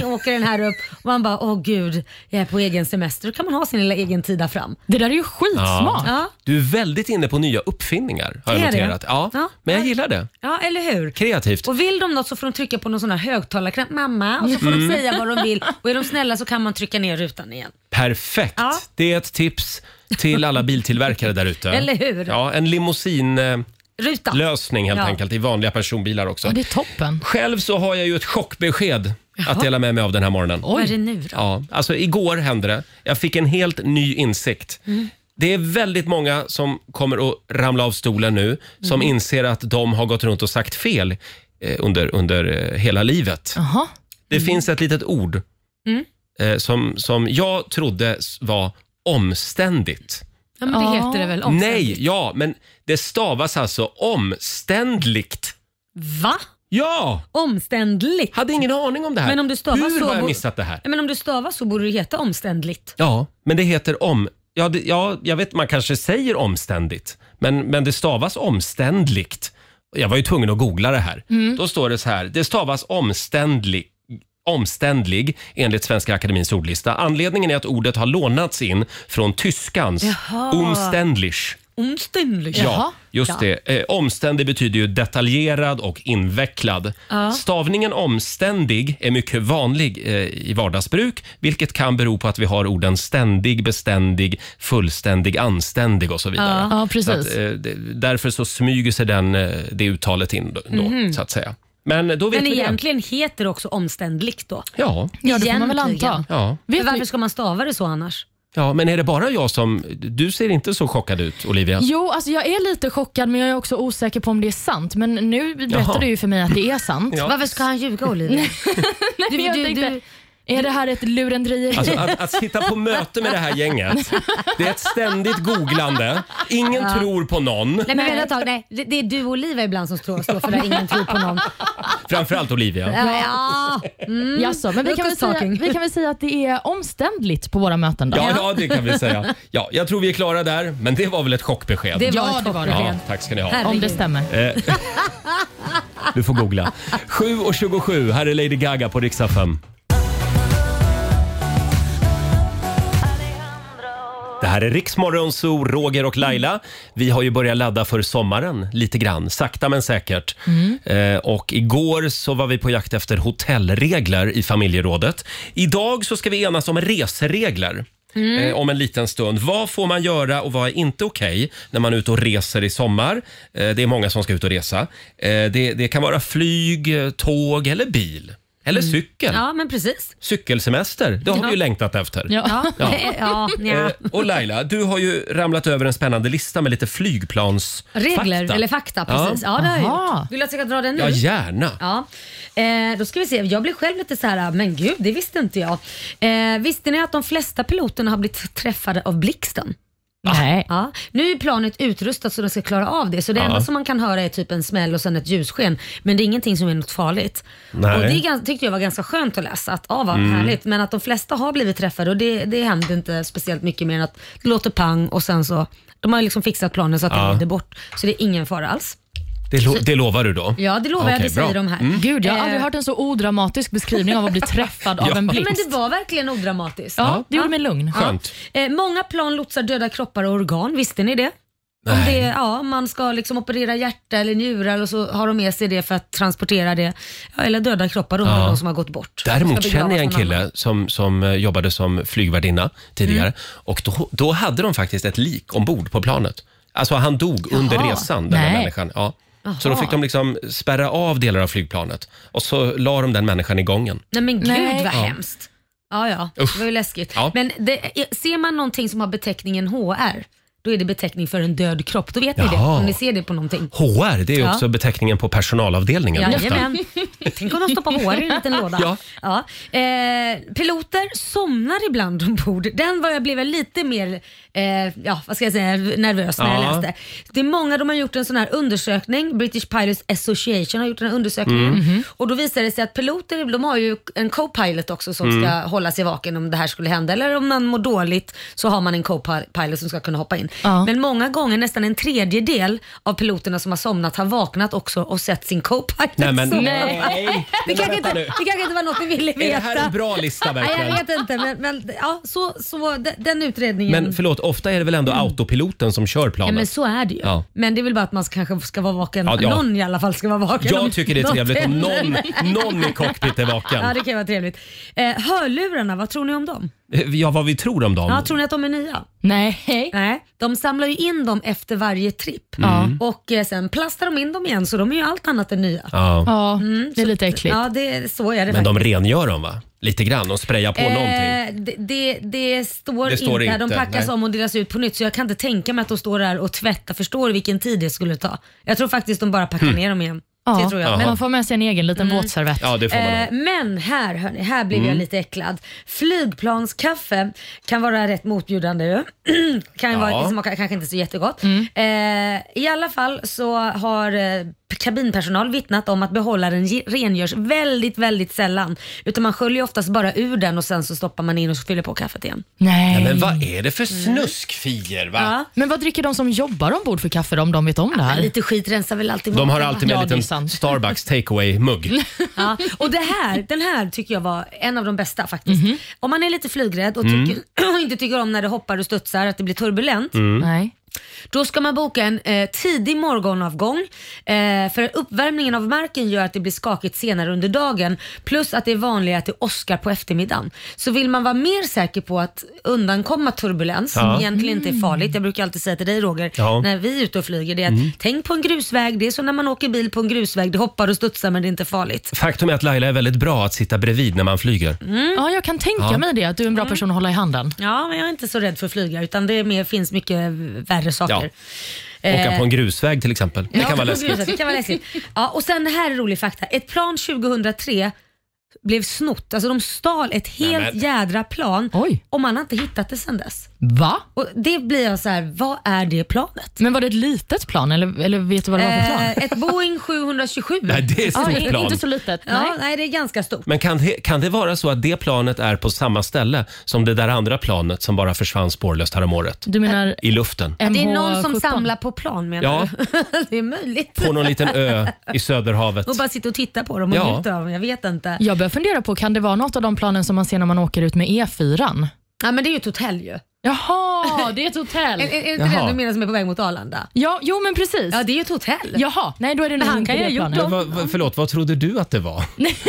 åker den här upp och man bara, åh gud, jag är på egen semester. Då kan man ha sin lilla egen tid där fram.
Det där är ju skitsmart.
Ja.
Du är väldigt inne på nya uppfinningar har jag
Är det?
noterat. Ja,
Ja.
men jag gillar det.
Ja, eller hur?
Kreativt.
Och vill de något så får de trycka på någon sån här högtalarknapp, mamma, och så får
Mm.
de säga vad de vill. Och är de snälla så kan man trycka ner rutan igen.
Perfekt.
Ja.
Det är ett tips till alla biltillverkare där ute.
Eller hur?
Ja, en
Ruta.
limousinlösning helt
Ja.
enkelt i vanliga personbilar också.
Ja, det är toppen.
Själv så har jag ju ett chockbesked
Jaha.
att dela med mig av den här morgonen.
Vad är det nu då?
Ja, alltså igår hände det. Jag fick en helt ny insikt.
Mm.
Det är väldigt många som kommer att ramla av stolen nu som
Mm.
inser att de har gått runt och sagt fel eh, under, under eh, hela livet.
Jaha.
Det finns ett litet ord
Mm.
eh, som, som jag trodde s- var omständigt.
Ja, men det heter det väl? Omständigt.
Nej, ja, men det stavas alltså omständligt.
Va?
Ja!
Omständligt?
Hade ingen aning om det här.
Men om du stavar
Hur
så
har jag
bo-
missat det här?
Ja, Men om du stavar så borde det heta omständligt.
Ja, men det heter om... Ja, det, ja, jag vet, man kanske säger omständigt, men, men det stavas omständligt. Jag var ju tvungen att googla det här.
Mm.
Då står det så här, det stavas omständlig omständlig enligt Svenska Akademins ordlista. Anledningen är att ordet har lånats in från tyskans
Jaha.
omständlich.
Omständligt?
Ja, just det. Eh, omständig betyder ju detaljerad och invecklad.
Ja.
Stavningen omständig är mycket vanlig eh, i vardagsbruk, vilket kan bero på att vi har orden ständig, beständig, fullständig, anständig och så vidare.
Ja, precis.
Så att, eh, det- därför så smyger sig den, eh, det uttalet in då,
Mhm.
så att säga. Men då vet
Men
vi det.
egentligen heter det också omständligt då.
Ja.
Ja, det får man väl
Egentligen.
anta.
Ja.
För varför ska man stava det så annars?
ja, men är det bara jag som... Du ser inte så chockad ut, Olivia.
Jo, alltså jag är lite chockad men jag är också osäker på om det är sant. Men nu berättar
Jaha.
du ju för mig att det är sant.
Ja. Varför
ska han ljuga Olivia?
Nej, men jag
Du- du-
tänkte, är det här ett lurendrejeri?
Alltså att, att sitta på möte med det här gänget, det är ett ständigt googlande. Ingen
Ja.
tror på någon.
Nej men vänta ett tag, nej. Det, det är du och Olivia ibland som står, står för det här, ingen tror på någon.
Framförallt Olivia.
Ja. Mm.
Jaså, Alltså, men vi kan, väl
Lucas
säga,
talking.
vi kan väl säga att det är omständligt på våra möten då?
Ja, ja, det kan vi säga. Ja, jag tror vi är klara där, men det var väl ett chockbesked?
Det var Ja, ett det var det. chockbesked.
Ja, tack ska ni ha.
Om det stämmer.
Eh, du får googla. 7.27, här är Lady Gaga på riksdag 5. Det här är Riksmorgon, så Roger och Laila. Vi har ju börjat ladda för sommaren lite grann, sakta men säkert.
Mm.
Eh, och igår så var vi på jakt efter hotellregler i familjerådet. Idag så ska vi enas om reseregler.
Mm.
Eh, om en liten stund. Vad får man göra och vad är inte okej när man är ute och reser i sommar? Eh, det är många som ska ut och resa. Eh, det, det kan vara flyg, eh, tåg eller bil. Eller cykel.
Mm. Ja men precis.
Cykelsemester, det har vi
Ja.
ju längtat efter.
Ja.
Ja.
Ja, nja.
Eh, och Laila, du har ju ramlat över en spännande lista med lite flygplansfakta.
Regler eller fakta, precis. Ja, det har jag gjort. Vill du att jag ska dra den nu?
Ja, gärna.
Ja. Eh, då ska vi se. Jag blev själv lite så här, "Ah, men gud, det visste inte jag. Eh, visste ni att de flesta piloterna har blivit träffade av blixten?
Nej.
Ja. Nu är planet utrustat så de ska klara av det, så det
Ja.
enda som man kan höra är typ en smäll och sen ett ljussken. Men det är ingenting som är något farligt.
Nej.
Och det är gans- tyckte jag var ganska skönt att läsa, att ah, vad
Mm.
härligt. Men att de flesta har blivit träffade och det, det händer inte speciellt mycket mer än att det låter pang och sen så, de har ju liksom fixat planen så att
Ja.
den rider bort. Så det är ingen fara alls.
Det, lo- det lovar du då?
Ja, det lovar jag.
Okej,
Det säger
bra.
de här.
Mm.
Gud, jag har
Eh.
aldrig hört en så odramatisk beskrivning av att bli träffad
Ja.
av en blixt.
Men det var verkligen odramatiskt.
Ja, det gjorde mig lugn.
Ja. Eh, många plan lotsar döda kroppar och organ, visste ni det? Om det, ja, man ska liksom operera hjärta eller njurar och så har de med sig det för att transportera det. Ja, eller döda kroppar, då
Ja.
har de som har gått bort.
Däremot
Ska
känner jag en
begravas någon
kille som, som eh, jobbade som flygvärdinna tidigare
Mm.
och då, då hade de faktiskt ett lik ombord på planet. Alltså han dog under
Jaha.
resan, den här
Nej.
människan. Ja. Så då
Jaha.
fick de liksom spärra av delar av flygplanet och så la de den människan i gången.
Nej men gud
Nej.
vad
Ja.
hemskt. Ja, ja.
Usch.
Det var ju läskigt.
Ja.
Men det, ser man någonting som har beteckningen HR, då är det beteckning för en död kropp. Då vet ni det,
Jaha.
om ni ser det på någonting.
HR, det är ju också beteckningen på personalavdelningen. ofta.
Jajamän. Tänk om de stoppar HR i en liten låda.
Ja.
Eh, piloter somnar ibland ombord. Den var jag blev jag lite mer eh, ja, vad ska jag säga, nervös när
Ja.
jag läste. Det är många, de har gjort en sån här undersökning, British Pilots Association har gjort den här undersökningen.
Mm.
Mm-hmm.
Mhm.
Och då visar det sig att piloter, de har ju en co-pilot också som
Mm.
ska hålla sig vaken om det här skulle hända. Eller om man mår dåligt så har man en co-pilot som ska kunna hoppa in. Men många gånger, nästan en tredjedel av piloterna som har somnat har vaknat också och sett sin co-pilot
Nej, men-
somna.
Nej.
Det, kanske
Men
inte,
vänta
det
nu.
kanske inte var något vi ville veta.
Är det här en bra lista verkligen?
Nej, jag vet inte, men, men ja, så, så, de- den utredningen.
Men förlåt, ofta är det väl ändå autopiloten som kör
Mm. Ja,
planet?
men så är det ju.
Ja.
Men det är väl bara att man ska- kanske ska vara vaken.
Ja, ja.
Någon i alla fall ska vara vaken. om
Jag tycker det är
något
trevligt om någon,
händer.
någon i cockpit är
Ja,
vaken.
det kan vara trevligt. Eh, hörlurarna, vad tror ni om dem?
Ja, vad vi tror om dem.
Ja, tror ni att de är nya? Nej. Nej. De samlar ju in dem efter varje tripp
Mm.
och eh, sen plastar de in dem igen så de är ju allt annat än nya.
Ja. Ja,
det är lite äckligt. Ja, det, så är det
Men
faktiskt.
de rengör dem va? Lite grann, de sprayar på någonting.
Eh, det, det, det, står
Det står
inte.
inte,
De packas
nej.
om och delas ut på nytt så jag kan inte tänka mig att de står där och tvättar. Förstår du vilken tid det skulle ta? Jag tror faktiskt de bara packar
Hmm.
ner dem igen.
Ja,
Det tror jag.
man får med sig en egen liten våtservett.
Ja, det får man ha.
Eh, men här hörni, här blev
Mm.
jag lite äcklad. Flygplanskaffe kan vara rätt motbjudande ju. kan ju vara
Ja.
det smakar kanske inte så jättegott. Eh, I alla fall så har eh, kabinpersonal vittnat om att behållaren ge- rengörs väldigt, väldigt sällan. Utan man sköljer oftast bara ur den och sen så stoppar man in och så fyller på kaffet igen.
Nej.
Nej, men vad
eh,
är det för
mm.
snuskfier va?
Men vad dricker de som jobbar ombord för kaffe då, om de vet om det här?
Lite skit rensar väl alltid
De har alltid med en
Ja, det är
liten
sant.
Starbucks takeaway mugg
Ja, och det här, den här tycker jag var en av de bästa faktiskt. Om man är lite flygrädd och,
Mm.
tycker, och inte tycker om när det hoppar och studsar, att det blir turbulent.
Mm. Nej.
Då ska man boka en eh, tidig morgonavgång eh, för uppvärmningen av marken gör att det blir skakigt senare under dagen plus att det är vanligare att det åskar på eftermiddagen. Så vill man vara mer säker på att undankomma turbulens,
Ja. Mm.
som egentligen inte är farligt, jag brukar alltid säga till dig Roger,
Ja.
när vi är ute och flyger, det är att
Mm.
tänk på en grusväg, det är som när man åker bil på en grusväg, det hoppar och studsar men det är inte farligt.
Faktum är att Laila är väldigt bra att sitta bredvid när man flyger.
Ja, jag kan tänka
Ja. mig
det, att du är en bra person att hålla i
handen.
Ja, men jag är inte så rädd för att flyga utan det är mer, finns mycket värre
Åka
saker. Eh,
på en grusväg till exempel. Det
ja,
kan vara
på gruset, Det
läskigt.
kan vara läskigt. Ja, och sen här är rolig fakta. Ett plan 2003 blev snott. Alltså de stal ett helt
Nämen.
jädra plan och man har inte hittat det sen dess.
Va?
Och det blir jag så här, vad är det planet?
Men var det ett litet plan eller, eller vet du vad det var för plan?
Eh, ett Boeing 727.
Nej, det är ett stort
in-
plan.
litet. Ja,
nej.
nej. det är ganska stort.
Men kan det, kan det vara så att det planet är på samma ställe som det där andra planet som bara försvann spårlöst häromåret?
Du menar
I luften.
Ja, Eh, det är någon som
MH17.
samlar på plan menar du? det är möjligt.
På någon liten ö i Söderhavet.
Och bara sitta och titta på dem och
Ja.
njuta av dem. Jag vet inte.
Jag börjar fundera på, kan det vara något av de planen som man ser när man åker ut med E E4?
Ja, men det är ju ett hotell ju.
Jaha, det är ett hotell.
Är, är, är inte
Jaha.
det du menar som är på väg mot Arlanda?
Ja, jo men precis.
Eh, Ja, det är ju ett hotell.
Jaha, nej då är det
Men
nog
han
inte
kan ju
det
ha gjort
planet.
Men vad, vad, förlåt, vad trodde du att det var?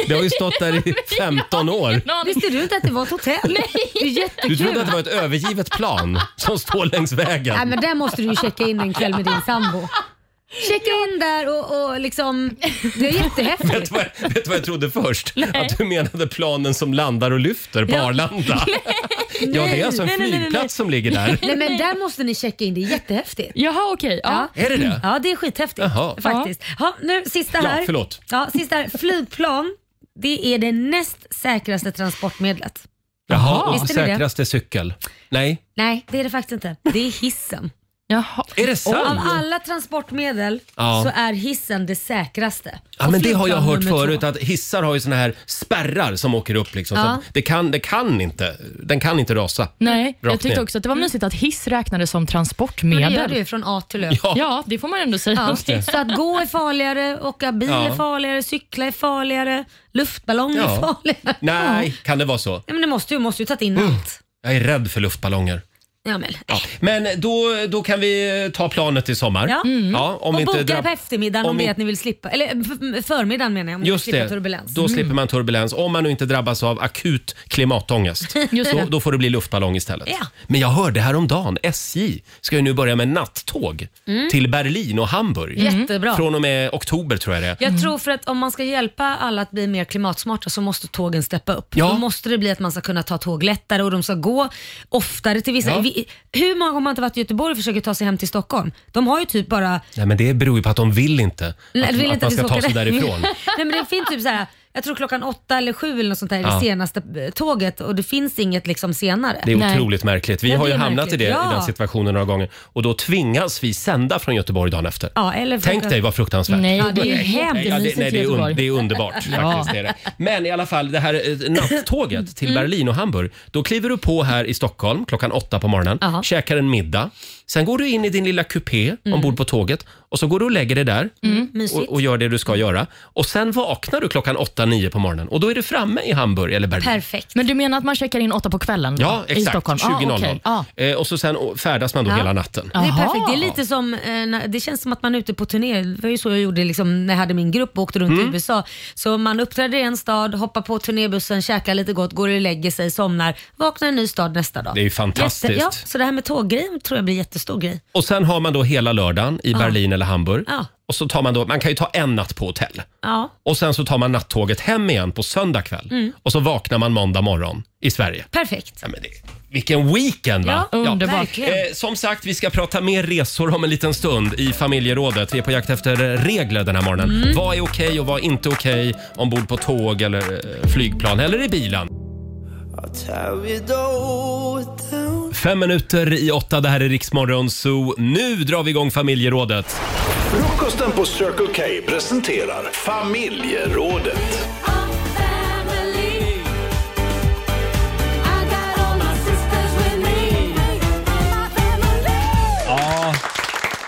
Det har ju stått där i 15 år.
Visste du inte att det var ett hotell? Nej. Det är jättekul.
Du trodde att det var ett övergivet plan som står längs
Nej,
vägen.
men där måste du ju checka in en kväll med din sambo. Checka in där och, och liksom, det är
Vet
jättehäftigt.
du vad, vet du vad jag trodde först? Att du menade planen som landar och lyfter på
Ja.
Arlanda. Ja, det är alltså en
Nej, nej, nej, nej.
flygplats som ligger där.
Nej men där måste ni checka in, det är jättehäftigt.
Jaha okej.
ja. Är det det?
Ja det är skithäftigt
Jaha.
faktiskt. Ja, nu sista
Ja,
här.
förlåt.
Ja, sista här. Flygplan, det är det näst säkraste transportmedlet.
Jaha, och
Visste ni det?
säkraste cykel. Nej.
Nej, det är det faktiskt inte. Det är hissen.
Jaha.
Är det sant?
Av alla transportmedel
Ja.
så är hissen det säkraste.
Ja,
Och
men det har jag
flygplan
hört
nummer två.
förut att hissar har ju såna här spärrar som åker upp liksom. Så
Ja.
att det kan, det kan inte, den kan inte rasa.
Nej, jag
Rakt
tyckte
ner.
också att det var mysigt att hiss räknades som
Men
transportmedel.
det gör du ju från A till Ö.
Ja. det får man ändå säga.
Ja,
Just det.
Så att gå är farligare, åka bil
Ja.
är farligare, cykla är farligare, luftballong
Ja.
är farligare.
Nej,
Ja.
kan det vara så?
Ja, men det måste ju, måste ju tagit in allt.
Jag är rädd för luftballonger.
Ja, men,
Ja. Men då, då kan vi eh, ta planet i sommar.
ja. Mm.
Ja, om
och
vi inte
boka
drabb-
det på eftermiddagen om,
om
ni
vi-
vet att ni vill slippa, eller f- förmiddagen menar jag, om ni vill
Just
slippa
det,
turbulens. Mm.
då slipper man turbulens. Om man nu inte drabbas av akut klimatångest,
Just
då,
det.
då får det bli luftballong istället.
Ja.
Men jag hörde häromdagen, SJ ska ju nu börja med nattåg
Mm.
till Berlin och Hamburg.
Jättebra.
Från Mm. och med oktober tror jag det är.
Jag tror för att om man ska hjälpa alla att bli mer klimatsmarta så måste tågen steppa upp.
Ja.
Då måste det bli att man ska kunna ta tåg lättare och de ska gå oftare till vissa.
Ja.
Vi, hur många gånger har man inte varit i Göteborg och försöker ta sig hem till Stockholm? De har ju typ bara
Nej, men det beror ju på att de vill inte att,
Nej, det vill
att man
vi
ska ta
åka
sig
där.
därifrån.
Nej, men det finns typ så här, jag tror klockan åtta eller sju eller något sånt där är
Ja.
det senaste eh, tåget och det finns inget liksom senare.
Det är otroligt märkligt. Vi
Ja,
har
det
ju
är
hamnat i,
märkligt.
det,
Ja.
i den situationen några gånger och då tvingas vi sända från Göteborg dagen efter.
Ja, eller
Tänk dig vad fruktansvärt.
Nej, Ja, det är ju
Nej, ja, det,
jättemysigt
nej, det, är un,
Göteborg.
det är underbart
Ja. Mm.
faktiskt. Det är det. Men i alla fall, det här eh, nattåget till Berlin och Hamburg. Då kliver du på här i Stockholm klockan åtta på morgonen, käkar en middag. Sen går du in i din lilla kupé ombord på tåget och så går du och lägger dig där
Mm, mysigt.
och, och gör det du ska göra. Och sen vaknar du klockan åtta, nio på morgonen och då är du framme i Hamburg eller Berlin.
Perfekt.
Men du menar att man checkar in åtta på kvällen då,
Ja,
i
exakt.
Stockholm?
20.00.
Ah, okej. ah.
Eh, och så sen färdas man då
Ja.
hela natten.
Det är perfekt. Det är lite som, eh, när- det känns som att man är ute på turné. Det var ju så jag gjorde liksom, när jag hade min grupp och åkte runt i
Mm.
USA. Så man uppträder i en stad, hoppar på turnébussen, käkar lite gott, går och lägger sig, somnar, vaknar i en ny stad nästa dag.
Det är ju fantastiskt.
Jätte, ja, så det här med tåggrejen tror jag blir en jättestor grej.
Och sen har man då hela lördagen i
Ja.
Berlin eller Hamburg.
Ja.
Och så tar man då, man kan ju ta en natt på hotell.
Ja.
Och sen så tar man nattåget hem igen på söndag kväll.
Mm.
Och så vaknar man måndag morgon i Sverige.
Perfekt.
Ja, men det, vilken weekend va?
Ja, underbart. verkligen.
Eh, som sagt, vi ska prata mer resor om en liten stund i familjerådet. Vi är på jakt efter regler den här morgonen.
Mm.
Vad är okej och vad är inte okej ombord på tåg eller eh, flygplan eller i bilen? Fem minuter i åtta, det här är Riksmorgon Zoo. Nu drar vi igång familjerådet.
Frukosten på Circle K presenterar familjerådet.
Ja,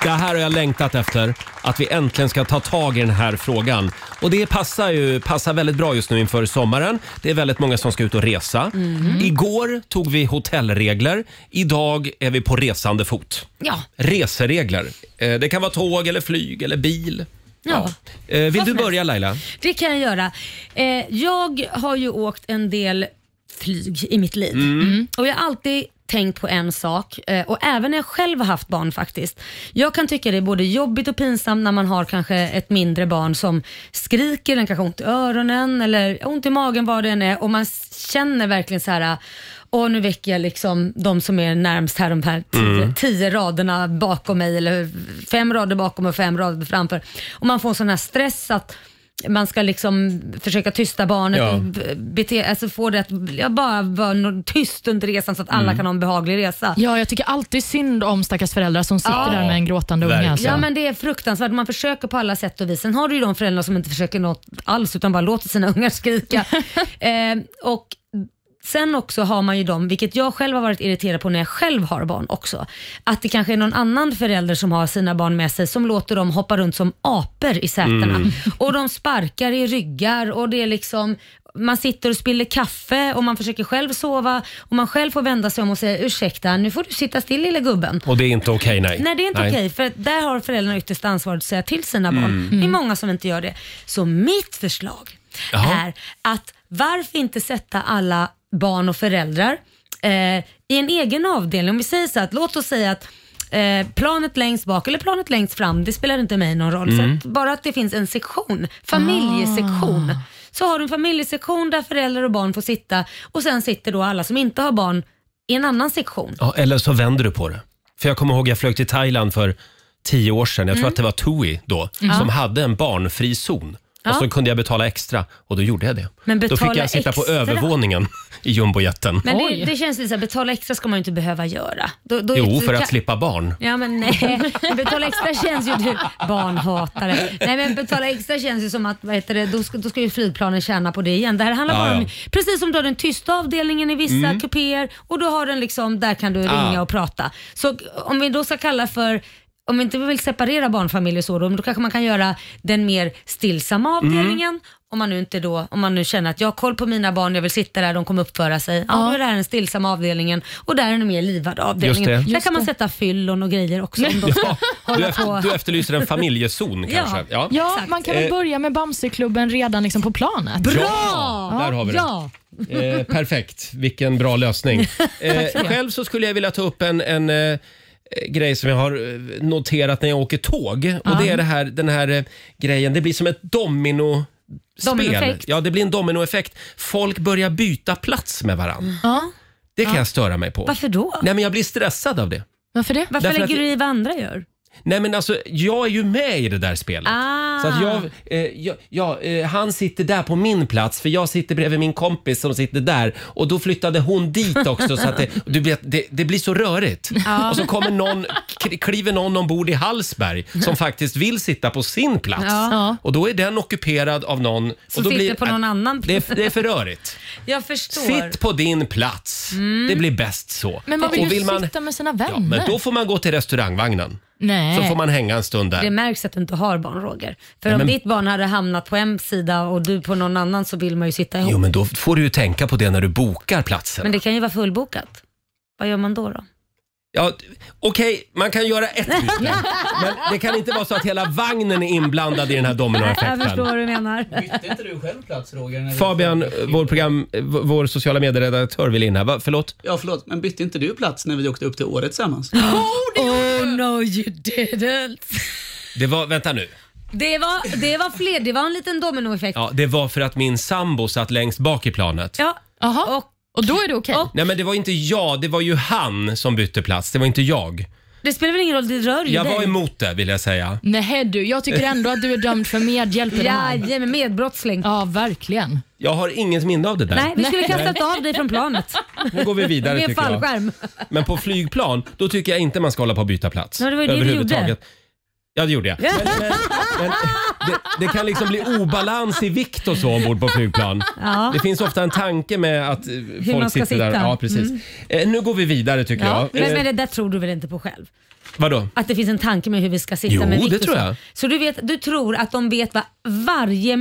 det här har jag längtat efter. Att vi äntligen ska ta tag i den här frågan. Och det passar ju passar väldigt bra just nu inför sommaren. Det är väldigt många som ska ut och resa.
Mhm.
Igår tog vi hotellregler. Idag är vi på resande fot.
Ja.
Reseregler. Eh, Det kan vara tåg eller flyg eller bil.
Ja.
Eh, Vill
Vad
du
som
börja Laila?
Det kan jag göra. Eh, jag har ju åkt en del flyg i mitt liv.
Mm. Mm.
Och jag har alltid tänkt på en sak eh, och även när jag själv har haft barn faktiskt. Jag kan tycka det är både jobbigt och pinsamt när man har kanske ett mindre barn som skriker, den kanske har ont i öronen eller ont i magen vad det än är och man känner verkligen så här och nu väcker jag liksom de som är närmst här, de här tio,
Mm.
tio raderna bakom mig eller fem rader bakom och fem rader framför. Och man får en sån här stress att man ska liksom försöka tysta barnet
Ja.
och b- bete, alltså få det att jag bara vara nå- tyst under resan så att alla
Mm.
kan ha en behaglig resa.
Ja, jag tycker alltid synd om stackars föräldrar som sitter
Ja.
där med en gråtande unge. Alltså.
Ja men det är fruktansvärt, man försöker på alla sätt och vis. Sen har du ju de föräldrar som inte försöker något alls utan bara låter sina ungar skrika. eh, och Sen också har man ju de, vilket jag själv har varit irriterad på när jag själv har barn också, att det kanske är någon annan förälder som har sina barn med sig som låter dem hoppa runt som apor i sätena.
Mm.
Och de sparkar i ryggar och det är liksom man sitter och spiller kaffe och man försöker själv sova och man själv får vända sig om och säga ursäkta, nu får du sitta still lilla gubben.
Och det är inte okej nej.
Nej, det är inte okej. för att där har föräldrarna ytterst ansvaret att säga till sina barn.
Mm.
Det är många som inte gör det. Så mitt förslag
Jaha.
är att varför inte sätta alla barn och föräldrar eh, i en egen avdelning. Om vi säger så att, låt oss säga att Eh, planet längst bak eller planet längst fram, det spelar inte mig någon roll.
Mm.
Så att bara att det finns en sektion, familjesektion. Så har du en familjesektion där föräldrar och barn får sitta och sen sitter då alla som inte har barn i en annan sektion.
Ja, eller så vänder du på det. För jag kommer ihåg jag flög till Thailand för tio år sedan. Jag tror
Mm.
att det var TUI då,
Mm.
som
Ja.
hade en barnfri zon.
Ja.
Och så kunde jag betala extra och då gjorde jag det.
Men
då fick
betala
jag sitta på
extra?
övervåningen i jumbojeten.
Men det, det känns lite så här, betala extra ska man ju inte behöva göra. Då, då-
Jo, för
kan-
att slippa barn.
Ja men nej, betala extra känns ju du barnhatare. Nej men betala extra känns ju som att, vad heter det, då ska, då ska ju flygplanen tjäna på det igen. Det här handlar
Ja,
bara om,
ja.
precis som du har den tysta avdelningen i vissa
Mm.
kupéer och då har den liksom, där kan du
Ah.
ringa och prata. Så om vi då ska kalla för om Mm. vi inte vill separera barnfamiljer så, då, men då kanske man kan göra den mer stillsamma avdelningen Om man nu inte då, om man nu känner att jag har koll på mina barn, jag vill sitta där, de kommer uppföra sig. Ja, då är det här den stillsamma avdelningen och där är den mer livade avdelningen.
det.
Där
Just
kan man sätta fyllon och grejer också. Om de
Ja, du,
hålla på.
eft- du efterlyser en familjezon
Ja.
kanske?
Ja, man kan väl
Eh,
börja med Bamseklubben redan liksom på planet.
Bra! Ja, där har vi det.
Ja.
Eh, perfekt, vilken bra lösning. Eh,
för det.
själv så skulle jag vilja ta upp en, en eh, grej som jag har eh, noterat när jag åker tåg. Och
Ja.
det är det här, den här eh, grejen, det blir som ett domino Spel.
Dominoeffekt.
Ja, det blir en dominoeffekt. Folk börjar byta plats med varandra.
Ja.
Det kan jag störa mig på.
Varför då?
Nej, men jag blir stressad av det.
Varför det?
Varför
Därför
lägger
att-
du i vad andra gör?
Nej, men alltså, jag är ju med i det där spelet.
Ah.
Så att jag, eh, jag, ja, eh, han sitter där på min plats för jag sitter bredvid min kompis som sitter där och då flyttade hon dit också så att det, du vet, det, det blir så rörigt.
Ja.
Och så kommer någon, kri- kliver någon ombord i Hallsberg som faktiskt vill sitta på sin plats
Ja.
och då är den ockuperad av någon.
Som
och då
sitter på någon
äh,
annan
Det är, det är för rörigt.
Jag förstår.
Sitt på din plats.
Mm.
Det blir bäst så.
Men man vill ju
Och man-
sitta med sina
Ja,
vänner.
men då får man gå till restaurangvagnen.
Nej.
Så får man hänga en stund
Det
där.
märks att du inte har barn Roger. För
Nej,
om
men-
ditt barn hade hamnat på en sida och du på någon annan så vill man ju sitta ihop.
Jo, men då får du ju tänka på det när du bokar platsen.
Men det kan ju vara fullbokat. Vad gör man då? då?
Ja, d- Okej, man kan göra ett byte. men det kan inte vara så att hela vagnen är inblandad i den här
jag förstår vad
dominoeffekten.
du menar.
Bytte inte du själv plats Roger? när du-
Fabian, eh, vår, program, eh, v- vår sociala medieredaktör vill in här. Va? Förlåt?
Ja, förlåt, men bytte inte du plats när vi åkte upp till året tillsammans?
Oh no you didn't.
Det var, vänta nu.
Det var, det var fler, det var en liten dominoeffekt.
Ja, det var för att min sambo satt längst bak i planet.
Ja.
Aha. Och, då är det okej?
Nej men det var inte jag, det var ju han som bytte plats. Det var inte jag.
Det spelar väl ingen roll, det rör ju
Jag
dig.
var emot det vill jag säga.
Nej du, jag tycker ändå att du är dömd för medhjälp i det här.
Jajamän, medbrottsling.
Ja, verkligen.
Jag har inget minne av det där.
Nej, vi skulle
Nej.
kastat av dig från planet.
Nu går vi vidare
Med
tycker jag.
fallskärm.
Men på flygplan, då tycker jag inte man ska hålla på och byta plats.
Ja, det var ju det du gjorde.
Ja, det gjorde jag. Det, det kan liksom bli obalans i vikt och så ombord på flygplan.
Ja.
Det finns ofta en tanke med att eh, folk
man ska
sitter där.
sitta.
Ja, precis.
Mm.
Eh, nu går vi vidare tycker
Ja.
jag.
Men,
Eh,
men det där tror du väl inte på själv?
vadå?
Att det finns en tanke med hur vi ska sitta
Jo,
med vikt
det
och
tror
så.
jag.
Så du, vet, du tror att de vet vad varje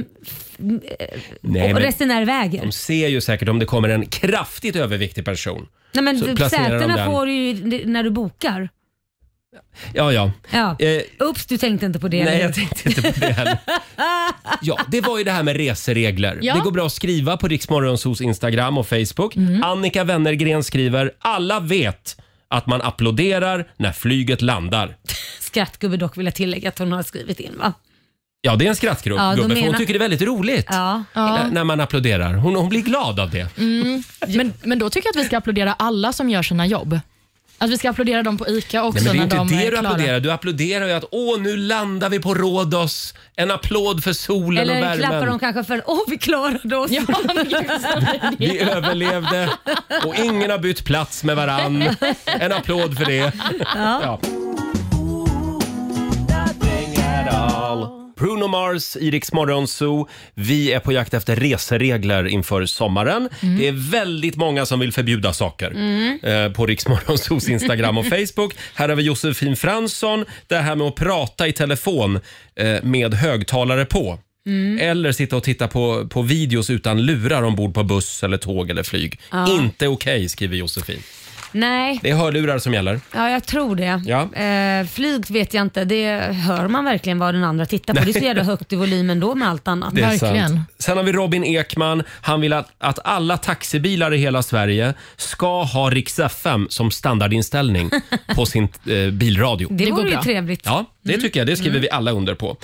Nej,
Nej,
men-
resenär väger?
De ser ju säkert om det kommer en kraftigt överviktig person.
Nej, men
så
du-
placerar de
sätena
den.
får du ju när du bokar.
Ja, ja.
Ja.
Eh,
Ups, du tänkte inte på det.
Nej,
eller?
jag tänkte inte på det heller. Ja, det var ju det här med reseregler.
Ja.
Det går bra att skriva på Riksmorgonsos Instagram och Facebook.
Mm.
Annika Wennergren skriver, alla vet att man applåderar när flyget landar.
Skrattgubbe dock vill jag tillägga att hon har skrivit in va?
Ja, det är en skrattgubbe,
Ja, de
för hon
menar-
tycker det är väldigt roligt
Ja.
när- när man applåderar. Hon, hon blir glad av det.
Mm. Men, men då tycker jag att vi ska applådera alla som gör sina jobb. Att vi ska applådera dem på ICA
Nej, men
också
det är
när
inte
de
det
är
du
klara.
applåderar. Du applåderar ju att åh, nu landar vi på Rhodos. En applåd för solen och
Eller
värmen.
klappar de kanske för åh vi klarade oss. Ja,
Vi överlevde och ingen har bytt plats med varann. En applåd för det. Ja. Bruno Mars, Iriks morgonzoo. Vi är på jakt efter reseregler inför sommaren. Det är väldigt många som vill förbjuda saker
Mm.
eh, på Riks Morgonzoos Instagram och Facebook. Här har vi Josefin Fransson. Det här med att prata i telefon eh, med högtalare på.
Mm.
Eller sitta och titta på, på videos utan lurar ombord på buss, eller tåg eller flyg.
Ja.
Inte okej, skriver Josefin.
Nej,
Det är hörlurar som gäller.
ja, jag tror det.
Ja.
Eh, flyg vet jag inte, det hör man verkligen vad den andra tittar på.
Nej.
Det är så jävla högt i volymen då med allt annat.
Det är sant. Sen har vi Robin Ekman. Han vill att, att alla taxibilar i hela Sverige ska ha Rix FM som standardinställning på sin eh, bilradio.
Det Det vore går ju bra. trevligt.
Ja,
Mm.
det tycker jag. Det skriver vi alla under på.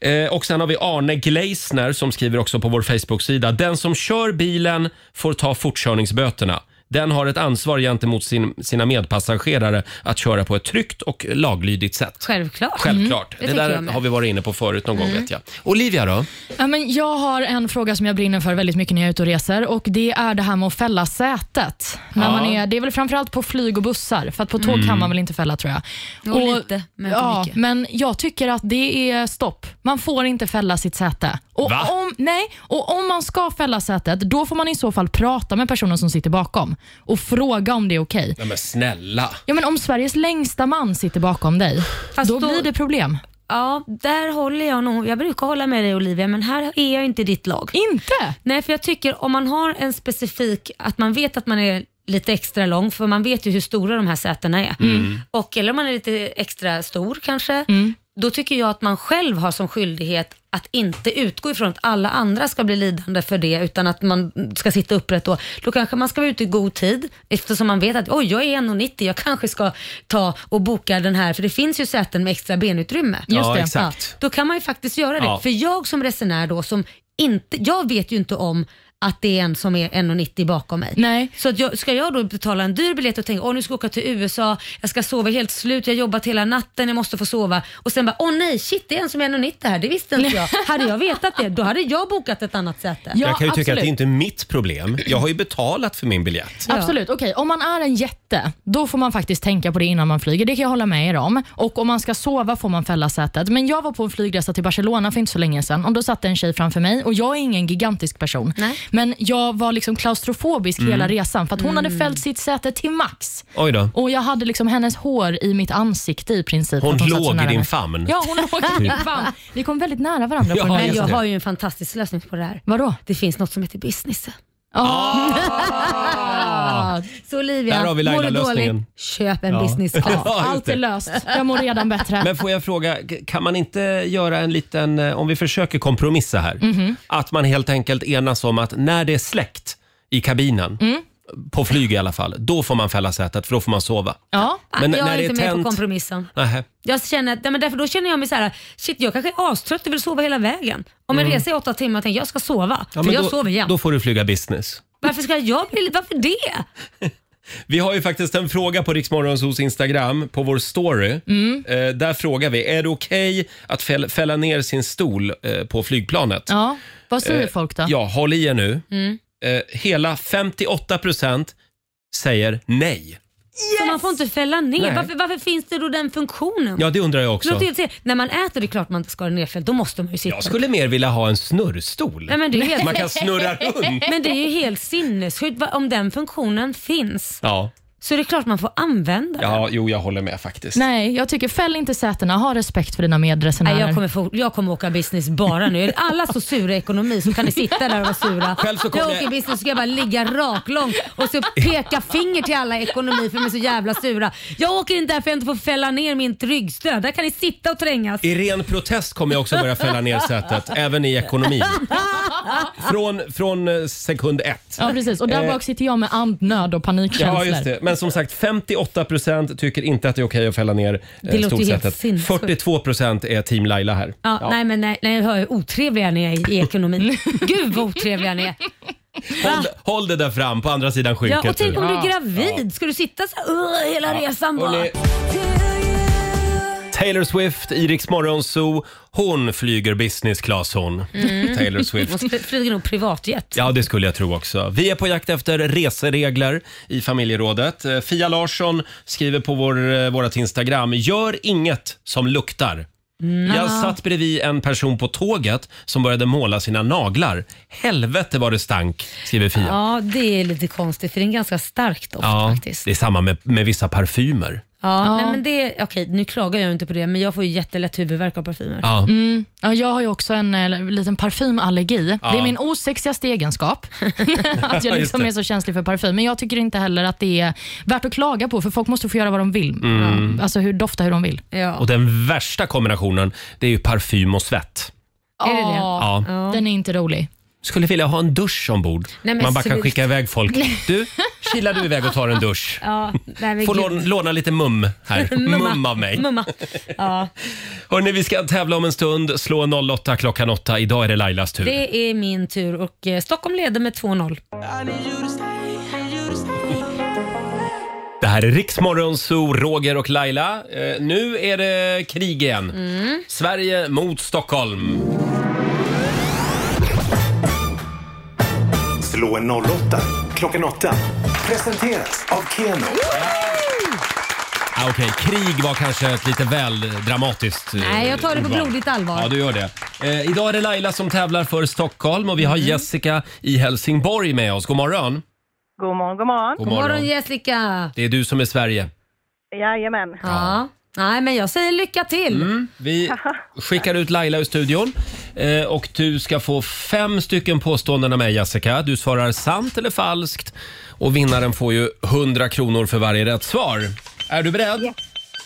Eh, och sen har vi Arne Gleisner som skriver också på vår Facebook-sida. Den som kör bilen får ta fortkörningsböterna. Den har ett ansvar gentemot sin, sina medpassagerare att köra på ett tryggt och laglydigt sätt.
Självklart.
Självklart.
Mm, det
Det,
tycker jag
där
med.
har vi varit inne på förut någon gång
Mm.
vet jag. Olivia då?
Ja, men jag har en fråga som jag brinner för väldigt mycket när jag är ute och reser och det är det här med att fälla sätet. När
Ja.
man är, det är väl framförallt på flyg och bussar, för att på tåg
Mm.
kan man väl inte fälla tror jag.
Jo, lite, men inte
ja,
mycket.
men jag tycker att det är stopp. Man får inte fälla sitt säte. Och
Va?
om, nej, och om man ska fälla sätet, då får man i så fall prata med personen som sitter bakom och fråga om det är okej.
Nej men snälla.
Ja, men om Sveriges längsta man sitter bakom dig, då, blir det problem.
ja, där håller jag nog. Jag brukar hålla med dig Olivia, men här är jag inte i ditt lag.
Inte?
Nej, för jag tycker om man har en specifik, att man vet att man är lite extra lång, för man vet ju hur stora de här sätena är.
Mm.
Och, eller om man är lite extra stor kanske,
Mm.
då tycker jag att man själv har som skyldighet att inte utgå ifrån att alla andra ska bli lidande för det, utan att man ska sitta upprätt då. Då kanske man ska vara ute i god tid, eftersom man vet att oj, jag är 1,90, jag kanske ska ta och boka den här, för det finns ju säten med extra benutrymme.
Just Ja, det. exakt.
då kan man ju faktiskt göra det.
Ja.
För jag som resenär då, som inte, jag vet ju inte om att det är en som är 1,90 bakom mig.
Nej.
Så att jag, ska jag då betala en dyr biljett och tänka, åh nu ska jag åka till USA, jag ska sova helt slut, jag har jobbat hela natten, jag måste få sova. Och sen bara, åh nej, shit det är en som är 1,90 här, det visste inte jag. Hade jag vetat det, då hade jag bokat ett annat säte.
jag kan ju tycka att det är inte är mitt problem. Jag har ju betalat för min biljett.
Absolut. Okej, om man är en jätte, då får man faktiskt tänka på det innan man flyger. Det kan jag hålla med er om. Och om man ska sova får man fälla sätet. Men jag var på en flygresa till Barcelona för inte så länge sedan och då satt en tjej framför mig och jag är ingen gigantisk person. Men jag var liksom klaustrofobisk
Mm.
hela resan för att hon hade fällt sitt säte till max.
Oj då.
Och jag hade liksom hennes hår i mitt ansikte i princip.
Hon
för att satt så
låg i
nära
din
mig.
famn.
Ja, hon låg i min
Typ.
famn. Vi kom väldigt nära varandra
Ja,
på den här
just
Men jag
det.
har ju en fantastisk lösning på det här.
Vadå?
Det finns något som heter business.
Ah.
Så Olivia,
Där har vi
mår du
Laila-lösningen.
dåligt, Köp en
Ja.
business
Ja,
class.
just Allt är det.
löst. Jag mår redan bättre.
Men får jag fråga, kan man inte göra en liten, eh, om vi försöker kompromissa här,
Mhm.
att man helt enkelt enas om att när det är släckt i kabinen,
Mm.
på flyg i alla fall, då får man fälla sätet för då får man sova.
Ja.
Men
jag
när
är
det är
inte med
tänt-
på kompromissen.
Nähä.
Jag känner, nej, men därför, då känner jag mig så här: shit jag kanske är astrött och vill sova hela vägen. Om en
Mm.
resa är åtta timmar och tänker jag ska sova,
Ja,
för
men
jag
då,
sover jämt.
Då får du flyga business.
Varför ska jag bli, varför det?
Vi har ju faktiskt en fråga på Riksmorgonsos Instagram, på vår story.
Mm.
Eh, där frågar vi, är det okej att fäll, fälla ner sin stol eh, på flygplanet?
Ja, vad säger
Eh,
folk då?
Ja, håll i er nu.
Mm.
Eh, hela 58 procent säger nej.
Så man får inte fälla ner.
Nej.
Varför, varför finns det då den funktionen?
Ja, det undrar jag
Det
också.
låter ju helt se- När man äter det är klart man inte ska ha den nerfälld, då måste man ju sitta.
Jag skulle mer vilja ha en snurrstol.
Nej, men det är helt...
Man kan snurra runt.
Men det är ju helt sinnessjukt. Va- Om den funktionen finns
Ja,
så är det klart man får använda den.
ja, jo, jag håller med faktiskt.
Nej, jag tycker fäll inte sätena. Ha respekt för dina medresenärer.
Nej, jag, kommer få, jag kommer åka business bara nu. Är alla så sura i ekonomi så kan ni sitta där och vara sura.
Själv så kommer
jag
jag-
åker business så ska jag bara ligga raklång och så peka finger till alla i ekonomi för de är så jävla sura. Jag åker inte där för jag inte får fälla ner min ryggstöd. Där kan ni sitta och trängas.
I ren protest kommer jag också börja fälla ner sätet, även i ekonomin. Från, från eh, sekund ett.
Ja, precis. Och där
Eh,
bak sitter jag med andnöd och panikkänslor.
Ja, just det. Men som sagt, 58 procent tycker inte att det är okej att fälla ner
Det
eh,
låter ju helt
stolsätet.
sinnessjukt.
42 procent är team Laila här.
Ja, Nej men nej, nej, jag hör ju otrevliga ni är i ekonomin. Gud vad otrevliga ni är.
Håll, håll det där fram, på andra sidan skynket.
Ja, och tänk om du
Ja.
är gravid, ska du sitta så här "Ugh", hela
Ja,
resan bara?
hörni. Taylor Swift, i Rix Morgon Zoo. Hon flyger business class hon.
Mm.
Taylor Swift.
Hon flyger nog privatjet.
Ja, det skulle jag tro också. Vi är på jakt efter reseregler i familjerådet. Eh, Fia Larsson skriver på vår, eh, vårat Instagram, gör inget som luktar.
Mm.
Jag
Ah.
satt bredvid en person på tåget som började måla sina naglar. Helvete vad det stank, skriver Fia.
Ja, det är lite konstigt för det är en ganska stark doft
Ja,
faktiskt.
det är samma med, med vissa parfymer.
Ja, Nej, men det, okej, nu klagar jag inte på det, men jag får ju jättelätt huvudvärk av parfymer.
Ja.
Mm. Ja, jag har ju också en eh, liten parfymallergi.
Ja.
Det är min osexigaste egenskap, att jag
Just
liksom
det.
är så känslig för parfym. Men jag tycker inte heller att det är värt att klaga på, för folk måste få göra vad de vill.
Mm.
Alltså hur, dofta hur de vill.
Och den värsta kombinationen, det är ju parfym och svett.
Är det det?
Ja.
Den är inte rolig.
Skulle vilja ha en dusch ombord.
Nej, men
Man bara kan
slut.
skicka iväg folk.
Nej.
Du, kilar du iväg och tar en dusch.
Ja, nej, men
Får
gud.
låna, låna lite mum här.
Mumma.
mum av mig.
Mumma. Ja,
Hörni, vi ska tävla om en stund. Slå 08 klockan 8. Idag är det Lailas tur.
det är min tur och eh, Stockholm leder med 2-0.
Det här är Riksmorgon Zoo, Roger och Laila. Eh, nu är det krig igen.
Mm.
Sverige mot Stockholm.
Slå en 08 klockan 8. Presenteras av Keno.
Ah, Okej, krig var kanske ett lite väl dramatiskt eh,
Nej, jag tar det på
ordval.
blodigt allvar.
Ja, du gör det. Eh, idag är det Laila som tävlar för Stockholm och vi
Mm.
har Jessica i Helsingborg med oss. God morgon!
God morgon, god morgon.
God morgon.
Jessica.
Det är du som är Sverige.
Jajamän.
Ja. Nej, men jag säger lycka till.
Mm. Vi skickar ut Laila ur studion eh, och du ska få fem stycken påståenden av mig Jessica. Du svarar sant eller falskt och vinnaren får ju 100 kronor för varje rätt svar. Är du beredd?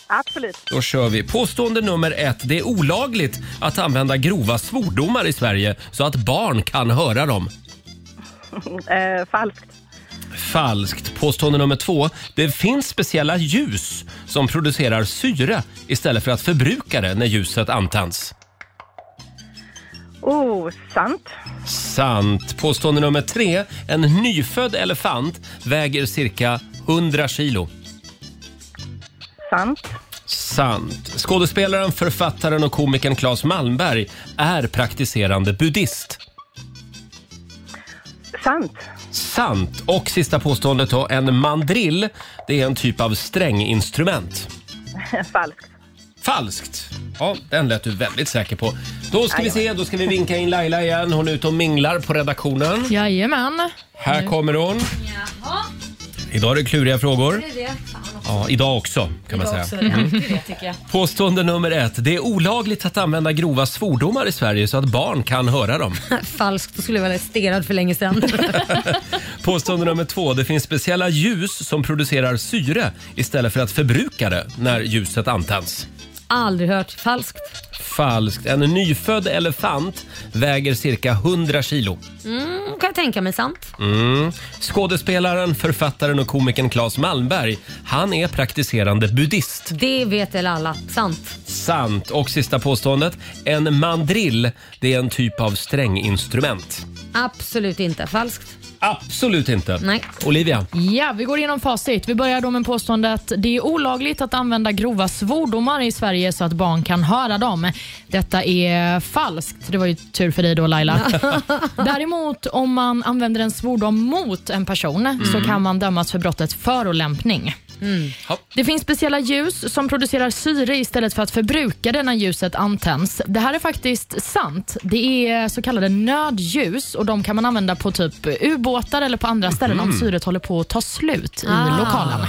Absolut.
Då kör vi. Påstående nummer ett. Det är olagligt att använda grova svordomar i Sverige så att barn kan höra dem.
eh, falskt.
Falskt. Påstående nummer två. Det finns speciella ljus som producerar syre istället för att förbruka det när ljuset antänds.
Oh, sant.
Sant. Påstående nummer tre. En nyfödd elefant väger cirka 100 kilo.
Sant.
Sant. Skådespelaren, författaren och komikern Claes Malmberg är praktiserande buddhist.
Sant.
Sant. Och sista påståendet då. En mandrill, det är en typ av stränginstrument.
falskt.
Falskt. Ja, den lät du väldigt säker på. Då ska vi se, då ska vi vinka in Laila igen. Hon är ute och minglar på redaktionen.
Jajamän.
Här kommer hon.
Mm. Jaha,
Idag är det kluriga frågor.
det är det.
Ja, idag också kan man
Idag
säga.
också är det
Mm.
alltid det tycker jag.
Påstående nummer ett. Det är olagligt att använda grova svordomar i Sverige så att barn kan höra dem.
Falskt, då skulle jag vara arresterad för länge sedan.
Påstående nummer två. Det finns speciella ljus som producerar syre istället för att förbruka det när ljuset antänds.
Aldrig hört. Falskt.
Falskt. En nyfödd elefant väger cirka 100 kilo.
Mm, kan jag tänka mig sant.
Mm. Skådespelaren, författaren och komikern Claes Malmberg, han är praktiserande buddhist.
Det vet väl alla. Sant.
Sant. Och sista påståendet. En mandrill, det är en typ av stränginstrument.
Absolut inte. Falskt.
Absolut inte.
Nej.
Olivia?
Ja, vi går igenom facit. Vi börjar då med påståendet det är olagligt att använda grova svordomar i Sverige så att barn kan höra dem. Detta är falskt. Det var ju tur för dig då Laila. Däremot om man använder en svordom mot en person så
Mm.
kan man dömas för brottet förolämpning. Det finns speciella ljus som producerar syre istället för att förbruka det när ljuset antänds. Det här är faktiskt sant. Det är så kallade nödljus och de kan man använda på typ ubåtar eller på andra ställen om
Mhm.
syret håller på att ta slut i
Ah.
lokalen.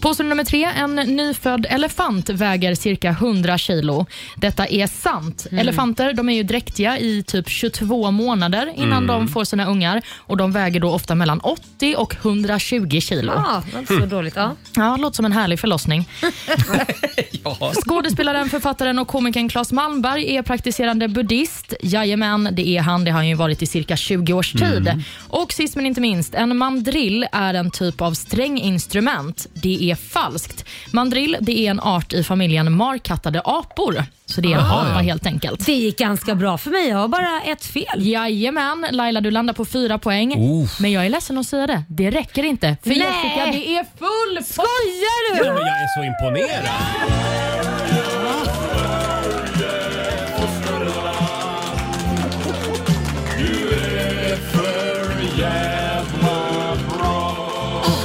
Påstående nummer tre. En nyfödd elefant väger cirka 100 kilo. Detta är sant.
Mm.
Elefanter de är ju dräktiga i typ 22 månader innan
Mm.
de får sina ungar och de väger då ofta mellan 80 och 120 kilo.
Ah.
Ja, det var inte så dåligt. Ja.
Ja, låter som en härlig förlossning. Skådespelaren, författaren och komikern Claes Malmberg är praktiserande buddhist. Jajamän, det är han. Det har han ju varit i cirka 20 års tid.
Mm.
Och sist men inte minst, en mandrill är en typ av stränginstrument. Det är falskt. Mandrill det är en art i familjen markattade apor. Så det är en
Jaha,
apa
ja.
helt enkelt.
Det gick ganska bra för mig. Jag har bara ett fel.
Jajamän, Laila du landar på fyra poäng.
Oof.
Men jag är ledsen att säga det, det räcker inte. För
Nej.
Jessica, det är full pott! Skojar
Ja, men jag är så imponerad.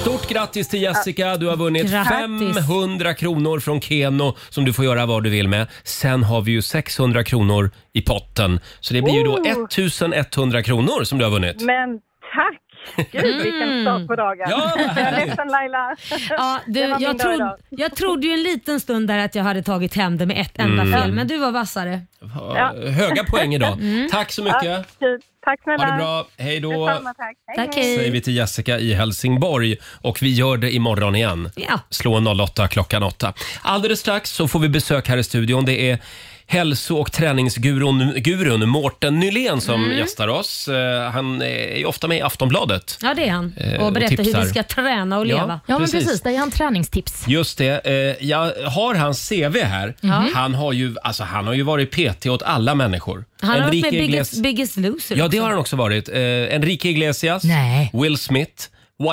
Stort grattis till Jessica. Du har vunnit
Grattis.
500 kronor från Keno som du får göra vad du vill med. Sen har vi ju 600 kronor i potten. Så det blir ju då
Oh.
1100 kronor som du har vunnit.
Men tack! Gud, vilken start på dagen.
Mm. Ja, vad
jag är
härligt.
ledsen Laila.
Ja, du,
Det var min
jag,
dag idag.
trodde, jag trodde ju en liten stund där att jag hade tagit hem det med ett enda
Mm.
fel, men du var vassare.
Ja. Höga poäng idag. Tack så mycket.
Ja,
tack
Ha det bra. Hej då.
tack.
Tack,
Säger vi till Jessica i Helsingborg och vi gör det imorgon igen.
Ja.
Slå en 08 klockan 8. Alldeles strax så får vi besök här i studion. Det är hälso och träningsgurun gurun Mårten Nylén som
Mm.
gästar oss. Eh, Han är ju ofta med i Aftonbladet.
Ja, det är han.
Eh, och
Och berättar hur
tipsar.
vi ska träna och
Ja,
leva.
Ja, men precis. precis.
Där är han träningstips.
Just det. Eh, Jag har hans CV här.
Mhm.
Han, har ju, alltså, han har ju varit PT åt alla människor.
Han har varit med
Enrique
i
Iglesias-
Biggest, biggest Loser
Ja, det
också.
har han också varit. Eh, Enrique Iglesias, Will Smith,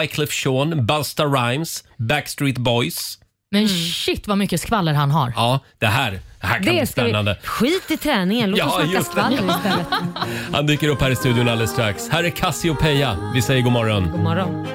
Wyclef Jean, Busta Rhymes, Backstreet Boys.
Men shit vad mycket skvaller han har.
Ja, det här, det här kan bli
ska vi-
spännande.
Skit i träningen, låt
Ja,
oss snacka
just det.
skvaller istället.
Han dyker upp här i studion alldeles strax. Här är Cassiopeia. Vi säger god morgon.
God morgon.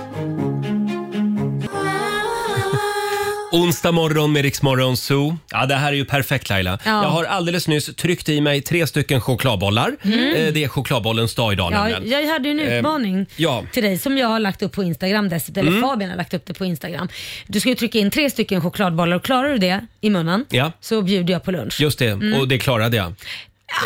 Onsdag morgon med Rix Morgon Zoo. Ja, det här är ju perfekt Laila.
Ja.
Jag har alldeles nyss tryckt i mig tre stycken chokladbollar.
Mm.
Eh, Det är chokladbollens dag idag
Ja,
nämligen.
jag hade ju en
Eh,
utmaning
Ja,
till dig som jag har lagt upp på Instagram dessutom, eller
Mm.
Fabian har lagt upp det på Instagram. Du ska ju trycka in tre stycken chokladbollar och klarar du det i munnen
ja.
så bjuder jag på lunch.
Just det,
Mm.
och det klarade jag. Eh,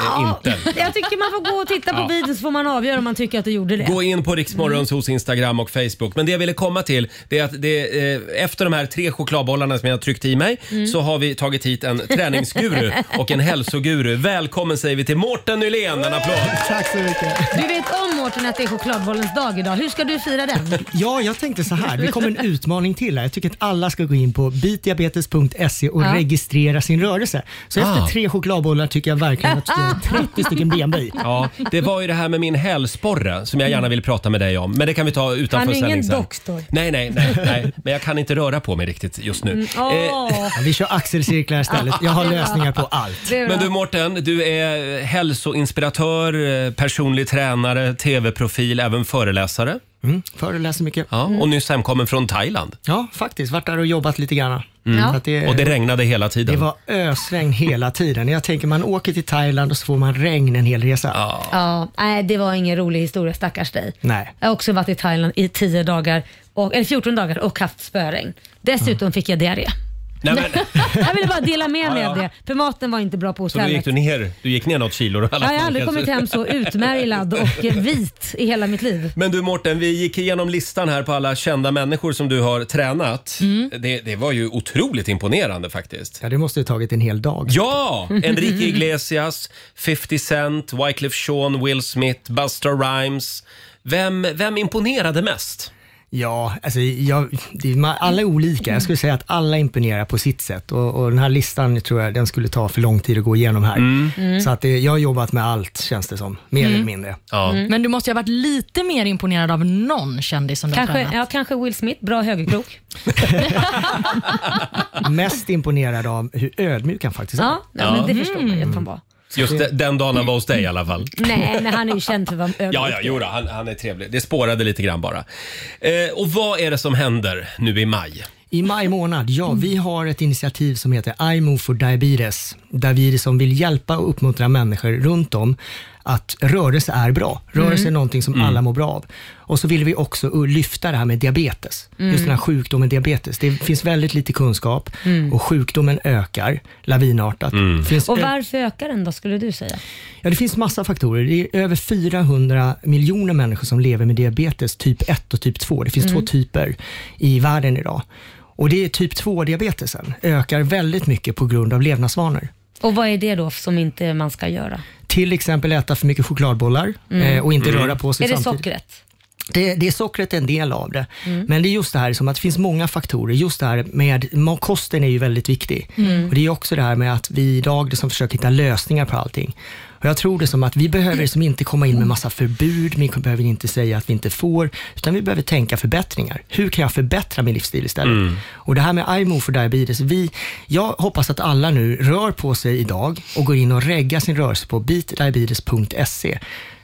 Ja,
Inte.
Jag tycker man får gå och titta på
Ja.
videon så får man avgöra om man tycker att du gjorde det.
Gå in på
Mm.
Riksmorgons hos Instagram och Facebook. Men det jag ville komma till det är att det, eh, efter de här tre chokladbollarna som jag tryckte i mig
Mm.
så har vi tagit hit en träningsguru och en hälsoguru. Välkommen säger vi till Mårten Nylén. En applåd!
Tack så mycket.
Du vet om Mårten att det är chokladbollens dag idag. Hur ska du fira den?
Ja, jag tänkte så här. Det kommer en utmaning till här. Jag tycker att alla ska gå in på bitdiabetes.se och
Ja.
registrera sin rörelse. Så
Ah.
efter tre chokladbollar tycker jag verkligen att du har 30 stycken benböj.
Ja, det var ju det här med min hälsporre som jag gärna vill prata med dig om. Men det kan vi ta utanför
Han är ingen
sändning sen.
doktor.
Nej, nej, nej, nej. Men jag kan inte röra på mig riktigt just nu.
Mm, åh.
Eh,
Vi kör axelcirklar istället. Jag har
Det är bra.
lösningar på allt.
Men du Mårten, du är hälsoinspiratör, eh, personlig tränare, tv-profil, även föreläsare.
Mm, föreläser mycket.
Ja, och nyss hemkommen från Thailand.
Ja, faktiskt. Vart där och jobbat lite grann.
Mm.
Så att
Och det regnade hela tiden.
Det var ösregn hela tiden. Jag tänker man åker till Thailand och så får man regn en hel resa.
Ja, nej det var ingen rolig historia stackars dig.
Nej.
Jag har också varit i Thailand i 10 dagar, och, eller 14 dagar och haft spöregn. Dessutom fick jag diarré.
Nej, Mm. men,
Jag ville bara dela med mig
Ja,
av
ja.
det, för maten var inte bra på
så då gick
hotellet.
du ner, du gick ner något kilo? då, i
Jag
alla
har
fall,
aldrig
kanske.
kommit hem så utmärglad och eh, vit i hela mitt liv.
Men du Mårten, vi gick igenom listan här på alla kända människor som du har tränat.
Mm.
Det, det var ju otroligt imponerande faktiskt.
Ja, det måste ju tagit en hel dag.
Ja! Enrique Iglesias, 50 Cent, Wyclef Jean, Will Smith, Buster Rhymes. Vem, vem imponerade mest?
Ja, alltså jag, det, är- man, alla är olika. Jag skulle säga att alla imponerar på sitt sätt. Och, och den här listan tror jag den skulle ta för lång tid att gå igenom här.
Mm.
Så att det, jag har jobbat med allt känns det som, mer
Mm.
eller mindre.
Mm. Men du måste ju ha varit lite mer imponerad av någon kändis som du har
Kanske,
tränat.
ja, kanske Will Smith, bra högerkrok.
Mest imponerad av hur ödmjuk han faktiskt är.
Ja, ja, men det förstår man ju
Mm.
att han var.
Just de, den dagen han var hos dig i alla fall.
Nej, men han är ju känd för att vara
Ja, ja,
överviktig.
jo då, han, han är trevlig. Det spårade lite grann bara. Eh, och vad är det som händer nu i maj?
I maj månad, ja,
Mm.
vi har ett initiativ som heter I Move for Diabetes, där vi liksom vill hjälpa och uppmuntra människor runt om att rörelse är bra. Rörelse
Mm.
är någonting som alla mår bra av. Och så vill vi också uh, lyfta det här med diabetes,
Mm.
just den här sjukdomen diabetes. Det finns väldigt lite kunskap
Mm.
och sjukdomen ökar lavinartat.
Mm.
Finns
Och
ö-
varför ökar den då, skulle du säga?
Ja, det finns massa faktorer. Det är över 400 miljoner människor som lever med diabetes typ 1 och typ 2. Det finns
Mm.
två typer i världen idag. Och det är typ 2-diabetesen ökar väldigt mycket på grund av levnadsvanor.
Och vad är det då som inte man ska göra?
Till exempel äta för mycket chokladbollar
Mm.
eh, och inte röra på sig
Är det
samtidigt.
sockret?
Det, det är sockret en del av det.
Mm.
Men det är just det här som att det finns många faktorer. Just det här med ma- kosten är ju väldigt viktig.
Mm.
Och det är också det här med att vi idag liksom försöker hitta lösningar på allting. Och jag tror det som att vi behöver liksom inte komma in med massa förbud, vi behöver inte säga att vi inte får, utan vi behöver tänka förbättringar. Hur kan jag förbättra min livsstil istället? Och det här med IMO för diabetes, vi, jag hoppas att alla nu rör på sig idag och går in och reggar sin rörelse på beatdiabetes.se.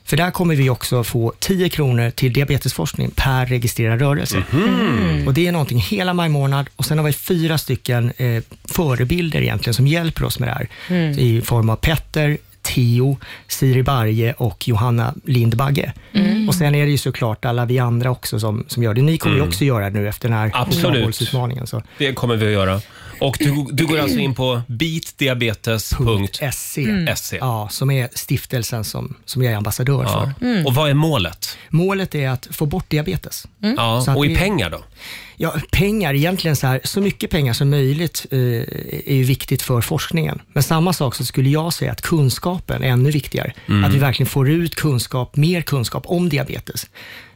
För där kommer vi också få 10 kronor till diabetesforskning per registrerad rörelse.
Mhm.
Och det är någonting hela maj månad och sen har vi fyra stycken eh, förebilder egentligen som hjälper oss med det här.
Mm.
I form av Petter, Theo, Siri Barje och Johanna Lindbagge.
Mm.
Och sen är det ju såklart alla vi andra också som, som gör det. Ni kommer ju
Mm.
också göra det nu efter den här
Absolut.
chokladbollsutmaningen, så.
Det kommer vi att göra. Och du, du går alltså in på bitdiabetes.se.
Mm. Ja, som är stiftelsen som, som jag är ambassadör
E. Ja.
för.
Och vad är målet?
Målet är att få bort diabetes. Mm. Så
Ja,
att
och i
vi-
pengar då?
Ja, pengar, egentligen så, här, så mycket pengar som möjligt eh, är ju viktigt för forskningen. Men samma sak så skulle jag säga att kunskapen är ännu viktigare.
Mm.
Att vi verkligen får ut kunskap, mer kunskap om diabetes.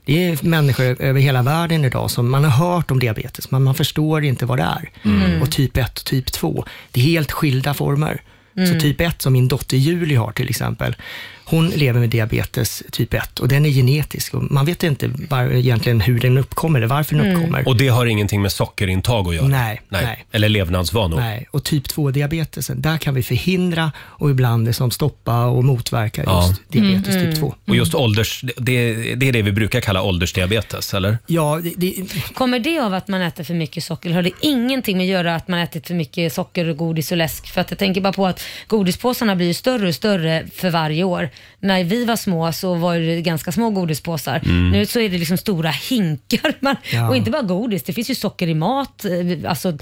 Det är människor över hela världen idag som man har hört om diabetes, men man förstår inte vad det är.
Mm.
Och typ 1 och typ 2, det är helt skilda former. Så
Mm.
typ 1 som min dotter Julie har till exempel, hon lever med diabetes typ 1 och den är genetisk. Och man vet inte var, egentligen hur den uppkommer eller varför den uppkommer.
Och det har ingenting med sockerintag att göra?
Nej, nej.
Eller levnadsvanor?
Nej, och typ 2-diabetesen, där kan vi förhindra och ibland liksom stoppa och motverka just diabetes
mm.
typ 2.
Och just ålders, det, det är det vi brukar kalla åldersdiabetes, eller?
Ja,
Kommer det av att man äter för mycket socker? Eller har det ingenting med att göra att man ätit för mycket socker, och godis och läsk? För att jag tänker bara på att godispåsarna blir ju större och större för varje år. När vi var små så var det ganska små godispåsar.
Mm.
Nu så är det liksom stora hinkar. Man,
Ja.
Och inte bara godis, det finns ju socker i mat. eh, Alltså,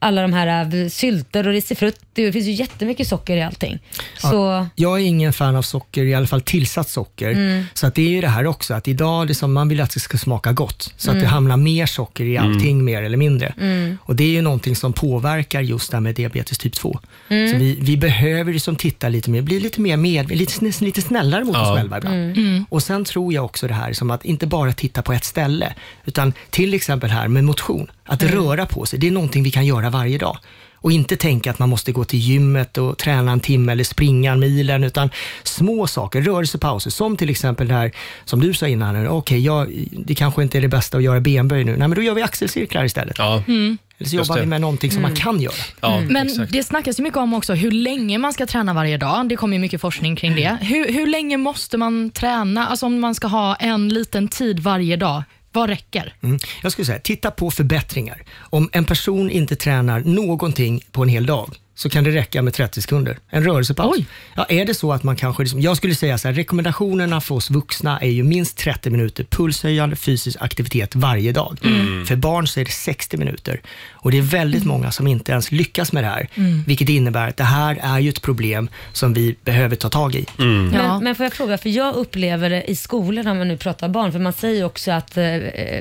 alla de här eh, sylter och risifrutti. Det finns ju jättemycket socker i allting.
Ja,
Så,
Jag är ingen fan av socker, i alla fall tillsatt socker.
Mm.
Så att det är ju det här också, att idag det är som man vill att det ska smaka gott. Så
Mm.
att det hamnar mer socker i allting mer eller mindre.
Mm.
Och det är ju någonting som påverkar just det här med diabetes typ 2.
Mm.
Så vi, vi behöver ju som tittar lite mer, bli lite mer med, lite, sn- lite snällare mot
Ja.
oss själva ibland.
Mm. Mm.
Och sen tror jag också det här som att inte bara titta på ett ställe, utan till exempel här med motion, att
Mm.
röra på sig, det är någonting vi kan göra varje dag. Och inte tänka att man måste gå till gymmet och träna en timme eller springa en milen, utan små saker, rörelsepauser, som till exempel det här som du sa innan, okej, jag- det kanske inte är det bästa att göra benböj nu, nej men då gör vi axelcirklar istället.
Mm.
Eller så
Just
jobbar vi
det.
med någonting som man
Mm.
kan göra.
Men det snackas ju mycket om också hur länge man ska träna varje dag. Det kommer ju mycket forskning kring det. Hur, hur länge måste man träna? Alltså om man ska ha en liten tid varje dag, vad räcker?
Mm. Jag skulle säga, titta på förbättringar. Om en person inte tränar någonting på en hel dag, så kan det räcka med 30 sekunder. En rörelsepaus. Ja, är det så att man kanske, liksom, jag skulle säga så här, rekommendationerna för oss vuxna är ju minst 30 minuter pulshöjande fysisk aktivitet varje dag.
Mm.
För barn så är det 60 minuter. Och det är väldigt många som inte ens lyckas med det här,
Mm.
vilket innebär att det här är ju ett problem som vi behöver ta tag i.
Men, men får jag fråga, för jag upplever det i skolorna om man nu pratar barn, för man säger ju också att eh,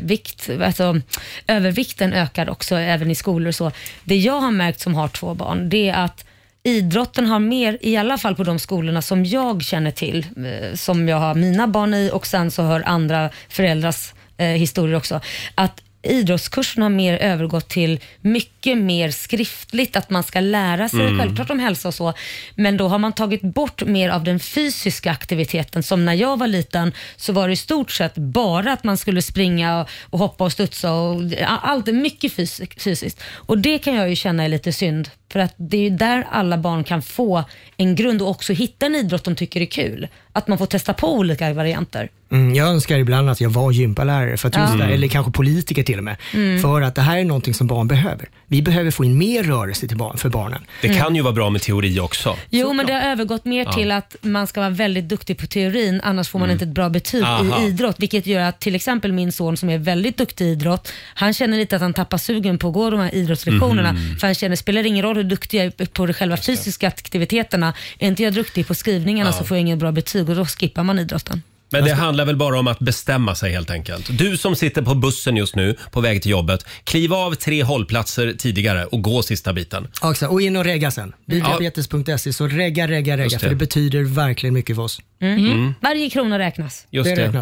vikt, alltså, övervikten ökar också även i skolor och så. Det jag har märkt som har två barn, det är att idrotten har mer, i alla fall på de skolorna som jag känner till, eh, som jag har mina barn i och sen så hör andra föräldrars eh, historier också, att idrottskurserna har mer övergått till mycket mer skriftligt, att man ska lära sig,
Mm.
självklart om hälsa och så, men då har man tagit bort mer av den fysiska aktiviteten. Som när jag var liten så var det i stort sett bara att man skulle springa och- och hoppa och studsa och allt är mycket fysik- fysiskt. Och det kan jag ju känna är lite synd, för att det är ju där alla barn kan få en grund och också hitta en idrott de tycker är kul. Att man får testa på olika varianter.
Mm, jag önskar ibland att jag var gympalärare, för att just
Ja.
det,
Mm.
eller kanske politiker till och med.
Mm.
För att det här är någonting som barn behöver. Vi behöver få in mer rörelse till barn, för barnen.
Det kan ju vara bra med teori också.
Jo, men det har övergått mer
Ja.
till att man ska vara väldigt duktig på teorin, annars får man
Mm.
inte ett bra betyg
Aha.
i idrott. Vilket gör att till exempel min son som är väldigt duktig i idrott, han känner lite att han tappar sugen på att gå de här idrottslektionerna.
Mhm.
För han känner, spelar ingen roll hur duktig jag är på de själva fysiska aktiviteterna, är inte jag duktig på skrivningarna
Ja.
så får jag inget bra betyg och då skippar man idrotten.
Men det handlar väl bara om att bestämma sig helt enkelt. Du som sitter på bussen just nu på väg till jobbet, kliv av tre hållplatser tidigare och gå sista biten.
Ja, exakt. och in och regga sen. Diabetes.se, E, så regga, regga, regga.
Just det.
För det betyder verkligen mycket för oss.
Mm.
Mm.
Varje krona räknas.
Just det.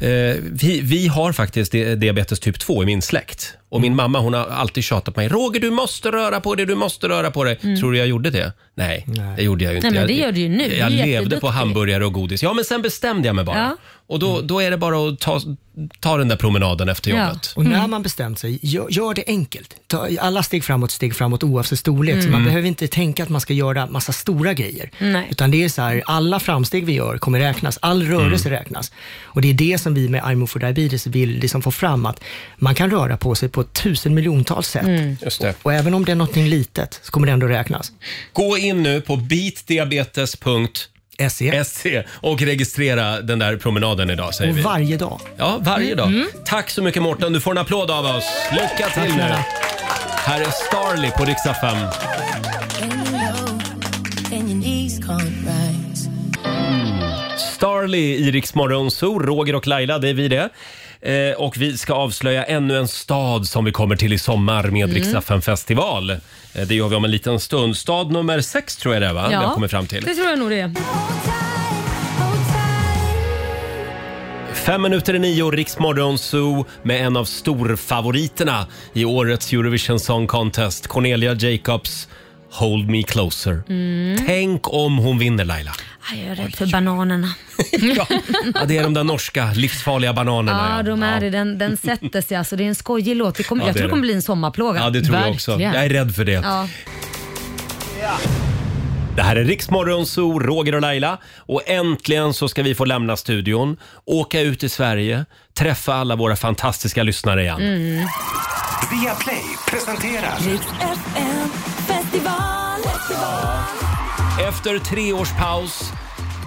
Eh, vi, vi har faktiskt di- diabetes typ 2 i min släkt. Och min mamma hon har alltid tjatat på mig. Roger, du måste röra på dig, du måste röra på dig.
Mm.
Tror du jag gjorde det? Nej, det gjorde jag ju inte.
Nej, men det
Jag-
gör du ju nu. Du är
Jag levde
jätteduktig.
på hamburgare och godis. Ja, men sen bestämde jag mig bara.
Ja.
Och då, då är det bara att ta, ta den där promenaden efter jobbet.
Och när man bestämt sig, gör, gör det enkelt. Ta alla steg framåt, steg framåt oavsett storlek. Så
Mm.
man behöver inte tänka att man ska göra massa stora grejer.
Nej.
Utan det är så här, alla framsteg vi gör kommer räknas, all rörelse
Mm.
räknas. Och det är det som vi med I'm for diabetes vill liksom få fram, att man kan röra på sig på tusen miljontals sätt.
Mm. Just det.
Och, och även om det är något litet så kommer det ändå räknas.
Gå in nu på
E.
bitdiabetes.se och registrera den där promenaden idag säger
Och
vi.
varje dag.
Ja, varje dag.
Mm.
Tack så mycket Mårten, du får en applåd av oss. Lycka till nu.
snälla.
Här är Starly på riksdag 5. Starly i Rix Morgon Zoo, Roger och Laila, det är vi det. Eh, och vi ska avslöja ännu en stad som vi kommer till i sommar med
Mm.
Rix mm. festival. Eh, det gör vi om en liten stund. Stad nummer sex tror jag det är va? Vi har kommit fram till.
det tror jag nog det är.
Fem minuter i nio, Riksmorgon Zoo med en av storfavoriterna i årets Eurovision Song Contest, Cornelia Jacobs Hold Me Closer.
Mm.
Tänk om hon vinner Laila.
Aj, jag är rädd för bananerna.
Ja, det är de där norska livsfarliga bananerna.
Ja, de är det. Den, den sätter sig. Alltså, det är en skojig låt. Det kommer,
Ja,
jag
det
tror
är
det kommer
det.
bli en sommarplåga.
Ja, det tror jag också. Jag är rädd för det.
Ja.
Det här är Riksmorgon Zoo, Roger och Laila. Och äntligen så ska vi få lämna studion, åka ut i Sverige, träffa alla våra fantastiska lyssnare igen.
Mm. Via Play presenterar...
Festival, festival.
Efter tre års paus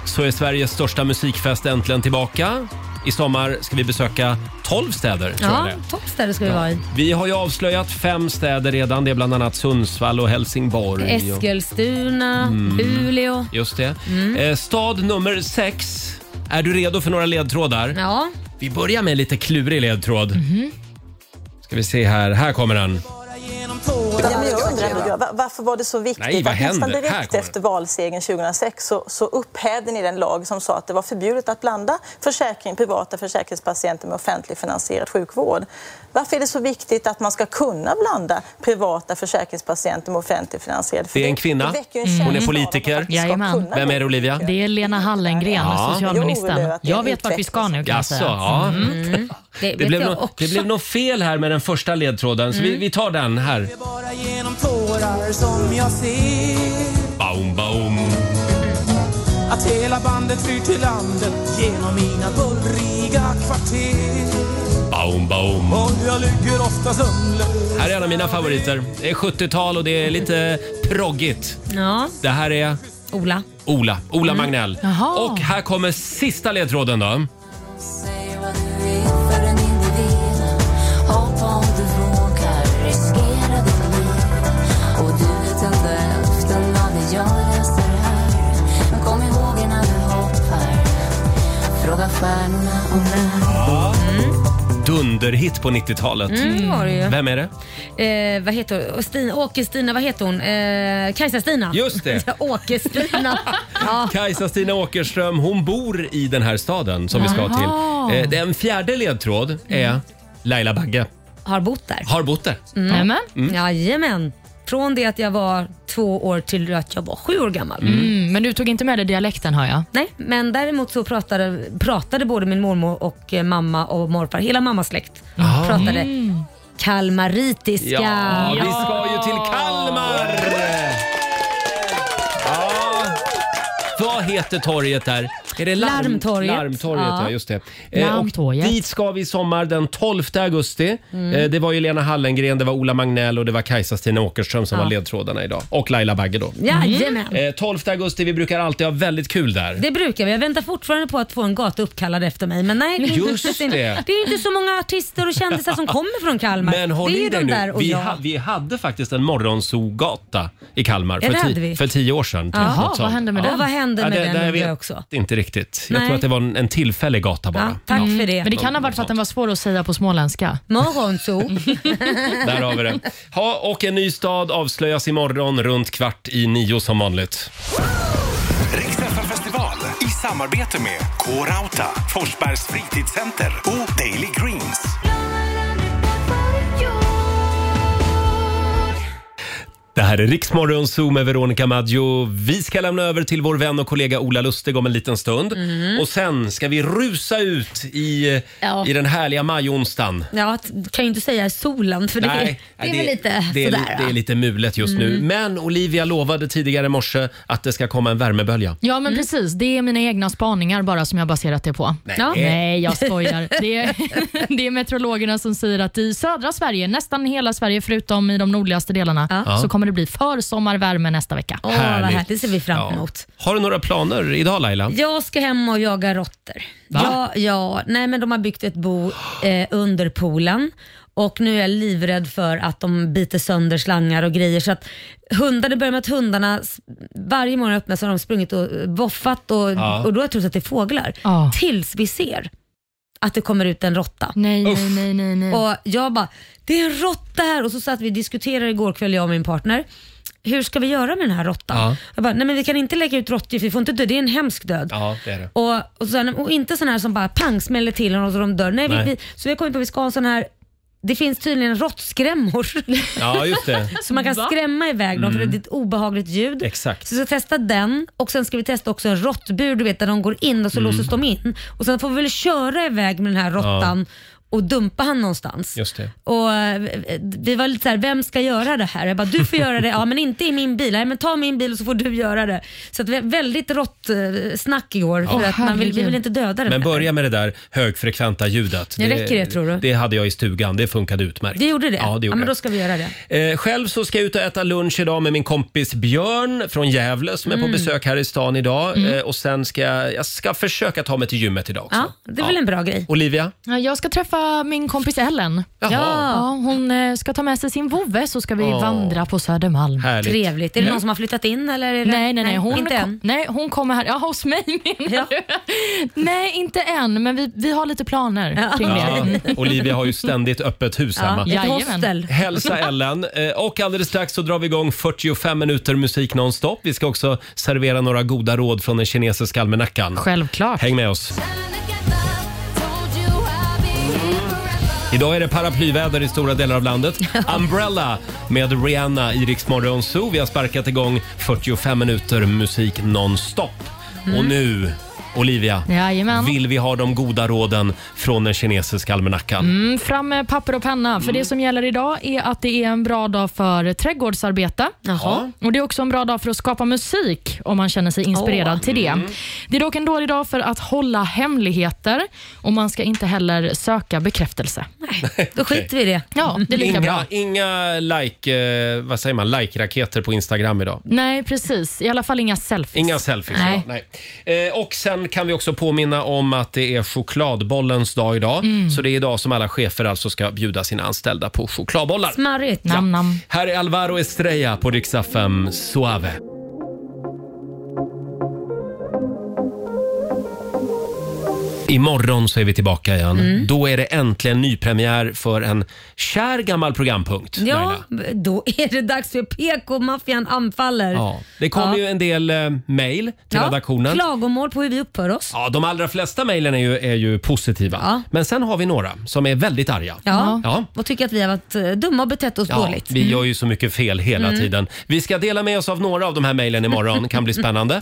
så är Sveriges största musikfest äntligen tillbaka. I sommar ska vi besöka 12 städer. Tror jag
Ja,
det. är.
toppställe ska vi vara i.
Vi har ju avslöjat fem städer redan. Det är bland annat Sundsvall och Helsingborg. Och...
Eskilstuna,
Mm.
Luleå.
Just det.
Mm.
Eh, stad nummer sex. Är du redo för några ledtrådar?
Ja. Mhm.
Vi börjar med en lite klurig ledtråd. Ska vi se här. Här kommer den.
Ja, men jag undrar, ändå, va- varför var det så viktigt
Nej, vad
att nästan
händer? Här
direkt
kommer
efter valsegern 2006 så, så upphävde ni den lag som sa att det var förbjudet att blanda försäkring, privata försäkringspatienter med offentligt finansierad sjukvård. Varför är det så viktigt att man ska kunna blanda privata försäkringspatienter med offentligt finansierad
Det är en
sjukvård?
kvinna.
Det väcker ju en
Hon är
känsla av
politiker.
Jajamän.
Vem är det, Olivia?
Det är Lena Hallengren,
Ja. Jo,
socialministern.
det är
Jag,
att det är
vet vart vi ska nu kan jag
Jaså,
säga.
ja.
Det,
Det
vet
blev,
jag
nå-
också.
det blev något fel här med den första ledtråden, så vi,
Mm.
vi tar den här.
Genom tårar som jag ser
Baum, baum.
Att hela bandet flyr till landet genom mina bullriga kvarter
Baum, baum.
Och jag ligger ofta sömnlös
Här är en av mina favoriter. Det är 70-tal och det är lite proggigt.
Ja,
Det här är
Ola.
Ola, Ola Magnell.
Mm. Jaha.
Och här kommer sista ledtråden då.
Säg vad du är för en individ. Hopp om du vågar riskera ditt liv. Och du vet inte hälften av det jag läser här. Men kom ihåg innan du hoppar. Fråga stjärnorna om när.
Dunderhit på 90-talet.
Mm, det var det ju.
Vem är det?
Eh, vad heter hon? Stina, Åke-Stina, vad heter hon? Eh, Kajsa-Stina.
Just det.
Åke-Stina. ja.
Kajsa-Stina Åkerström, hon bor i den här staden som vi ska
Jaha. Mm.
till. Eh, Den fjärde ledtråd är Laila Bagge.
Har bott där.
Har bott där.
Mm.
Ja. Mm.
Jajamän. Från det att jag var två år till att jag var sju år gammal.
Mm, men du tog inte med dig dialekten hör jag.
Nej, men däremot så pratade, pratade både min mormor och eh, mamma och morfar, hela mammas släkt,
Ah.
pratade kalmaritiska.
Ja, vi ska ju till Kalmar! Ja. Vad heter torget där? Är det larm,
Larmtorget.
Larmtorget, ja.
Ja.
just det. Eh,
Larmtorget.
Och dit ska vi i sommar den 12 augusti.
Mm.
Eh, det var ju Lena Hallengren, det var Ola Magnell och det var Kajsa-Stina Åkerström som
Ja.
var ledtrådarna idag. Och Laila Bagge då.
Jajamän.
Eh, 12 augusti, vi brukar alltid ha väldigt kul där.
Det brukar vi. Jag väntar fortfarande på att få en gata uppkallad efter mig. Men nej, det är
Just
inte-
det.
det är inte så många artister och kändisar som kommer från Kalmar.
Men håll
det är
i
ju
dig
de där
nu.
och
Vi,
jag.
ha, vi hade faktiskt en morgonsogata i Kalmar
Ja,
för,
det hade
ti,
vi.
för tio år sedan.
Jaha,
Något
vad
sånt.
hände med den? Vad hände med
det,
den
det,
undrar
vet
jag också.
inte riktigt. Jag
Nej.
tror att det var en, en tillfällig gata bara.
Ja, tack för det.
Mm. Men det kan ha varit för att den var svår att säga på småländska.
Morgonzoo.
Där har vi det. Ha, och en ny stad avslöjas imorgon runt kvart i nio som vanligt.
Riksfn festival i samarbete med K-Rauta, Forsbergs fritidscenter och Daily Greens.
Det här är Riksmorgon Zoo med Veronica Maggio. Vi ska lämna över till vår vän och kollega Ola Lustig om en liten stund.
Mm.
Och sen ska vi rusa ut i,
Ja.
i den härliga majonsdagen.
Ja, t- kan ju inte säga solen för det,
Nej,
det är väl lite
det är, li-
sådär.
det är lite mulet just nu.
Mm.
Men Olivia lovade tidigare i morse att det ska komma en värmebölja.
Ja men precis, det är mina egna spaningar bara som jag baserat det på.
Mm. Nej.
Ja. Nej, jag skojar. Det är, det är meteorologerna som säger att i södra Sverige, nästan hela Sverige förutom i de nordligaste delarna,
Ja.
så kommer det bli försommarvärme nästa vecka.
Åh, vad Härligt. härligt.
Det ser vi fram emot.
Har du några planer idag Laila?
Jag ska hem och jaga råttor.
Va?
Ja, ja, nej men de har byggt ett bo eh, under poolen och nu är jag livrädd för att de biter sönder slangar och grejer. Så att hundar, det börjar med att hundarna s- varje morgon öppnar så har de sprungit och eh, voffat och,
Ja.
och då har jag trott att det är fåglar. Tills vi ser att det kommer ut en råtta.
Nej, nej, nej, nej, nej.
Och jag bara, det är en råtta här och så satt vi och diskuterade igår kväll jag och min partner. Hur ska vi göra med den här råttan?
Ja.
Jag bara, nej men vi kan inte lägga ut råttgift, vi får inte dö, det är en hemsk död.
Ja, det är det.
Och, och, sen, och inte sån här som bara pang smäller till och så de dör. Nej,
Nej.
Vi, vi, så vi har kommit på att vi ska ha en sån här Det finns tydligen råttskrämmor.
Ja, just det.
Så man kan
Va?
skrämma iväg dem för
Mm.
det är ett obehagligt ljud.
Exakt.
Så vi ska testa den och sen ska vi testa också en råttbur, du vet där de går in och så
Mm.
låses de in. Och sen får vi väl köra iväg med den här råttan och dumpa han någonstans.
Just det.
Och eh, vi var lite såhär, vem ska göra det här? Jag bara, du får göra det. Ja men inte i min bil. Nej men ta min bil och så får du göra det. Så att vi väldigt rått eh, snack igår. För
Åh,
att man vill, vi
herregud.
vill inte döda den
Men
här.
börja med det där högfrekventa ljudet.
Det räcker det, tror du?
Det hade jag i stugan. Det funkade utmärkt.
Det gjorde det?
Ja, det gjorde
ja men
det.
då ska vi göra det.
Eh, själv så ska jag ut och äta lunch idag med min kompis Björn från Gävle som är på
Mm.
besök här i stan idag.
Mm.
Eh, och sen ska jag, jag ska försöka ta mig till gymmet idag också.
Ja, det är väl en
bra grej.
Olivia?
Ja, Jag ska träffa min kompis Ellen.
Jaha.
Ja, hon eh, ska ta med sig sin vovve så ska vi
Åh.
vandra på Södermalm.
Härligt. Mm. Trevligt. Är det någon som
har flyttat in? Eller är det...
Nej, nej, nej.
Nej,
Hon,
inte
kom,
än.
nej, hon kommer här. Ja, hos mig menar du? Nej, inte än, men vi, vi har lite planer kring det.
Ja,
Mm.
Olivia har ju ständigt öppet hus
Ja,
hemma.
ett Jajamän. hostel.
Hälsa Ellen. Eh, Och alldeles strax så drar vi igång 45 minuter musik nonstop. Vi ska också servera några goda råd från den kinesiska almanackan.
Självklart.
Häng med oss. Idag är det paraplyväder i stora delar av landet. Umbrella med Rihanna i Rix Morgon Zoo. Vi har sparkat igång 45 minuter musik nonstop.
Mm.
Och nu, Olivia,
Jajamän.
vill vi ha de goda råden från den kinesiska almanackan.
Mm, fram med papper och penna. För
Mm.
Det som gäller idag är att det är en bra dag för trädgårdsarbete.
Jaha.
Och Det är också en bra dag för att skapa musik om man känner sig inspirerad
Åh.
till det.
Mm.
Det är dock en dålig dag för att hålla hemligheter och man ska inte heller söka bekräftelse.
Då skiter vi i det.
Ja, det är lika
inga,
bra.
Inga like, eh, vad säger man, like-raketer på Instagram idag.
Nej, precis. I alla fall inga selfies.
Inga selfies
Nej.
idag. Nej. Eh, och sen kan vi också påminna om att det är chokladbollens dag idag.
Mm.
Så det är idag som alla chefer alltså ska bjuda sina anställda på chokladbollar.
Smarrigt.
Ja. Här är Alvaro Estrella på Riksdag 5, Suave. Imorgon så är vi tillbaka igen.
Mm.
Då är det äntligen nypremiär för en kär gammal programpunkt. Laila.
Ja, då är det dags för PK-maffian anfaller.
Ja. Det kom
Ja.
ju en del eh, mejl till
Ja,
redaktionen.
Klagomål på hur vi uppför oss.
Ja, de allra flesta mejlen är ju, är ju positiva. Men sen har vi några som är väldigt arga.
Ja.
Ja.
och tycker att vi har varit eh, dumma och betett oss
Ja,
dåligt.
vi gör ju så mycket fel hela
Mm.
tiden. Vi ska dela med oss av några av de här mejlen imorgon. kan bli spännande.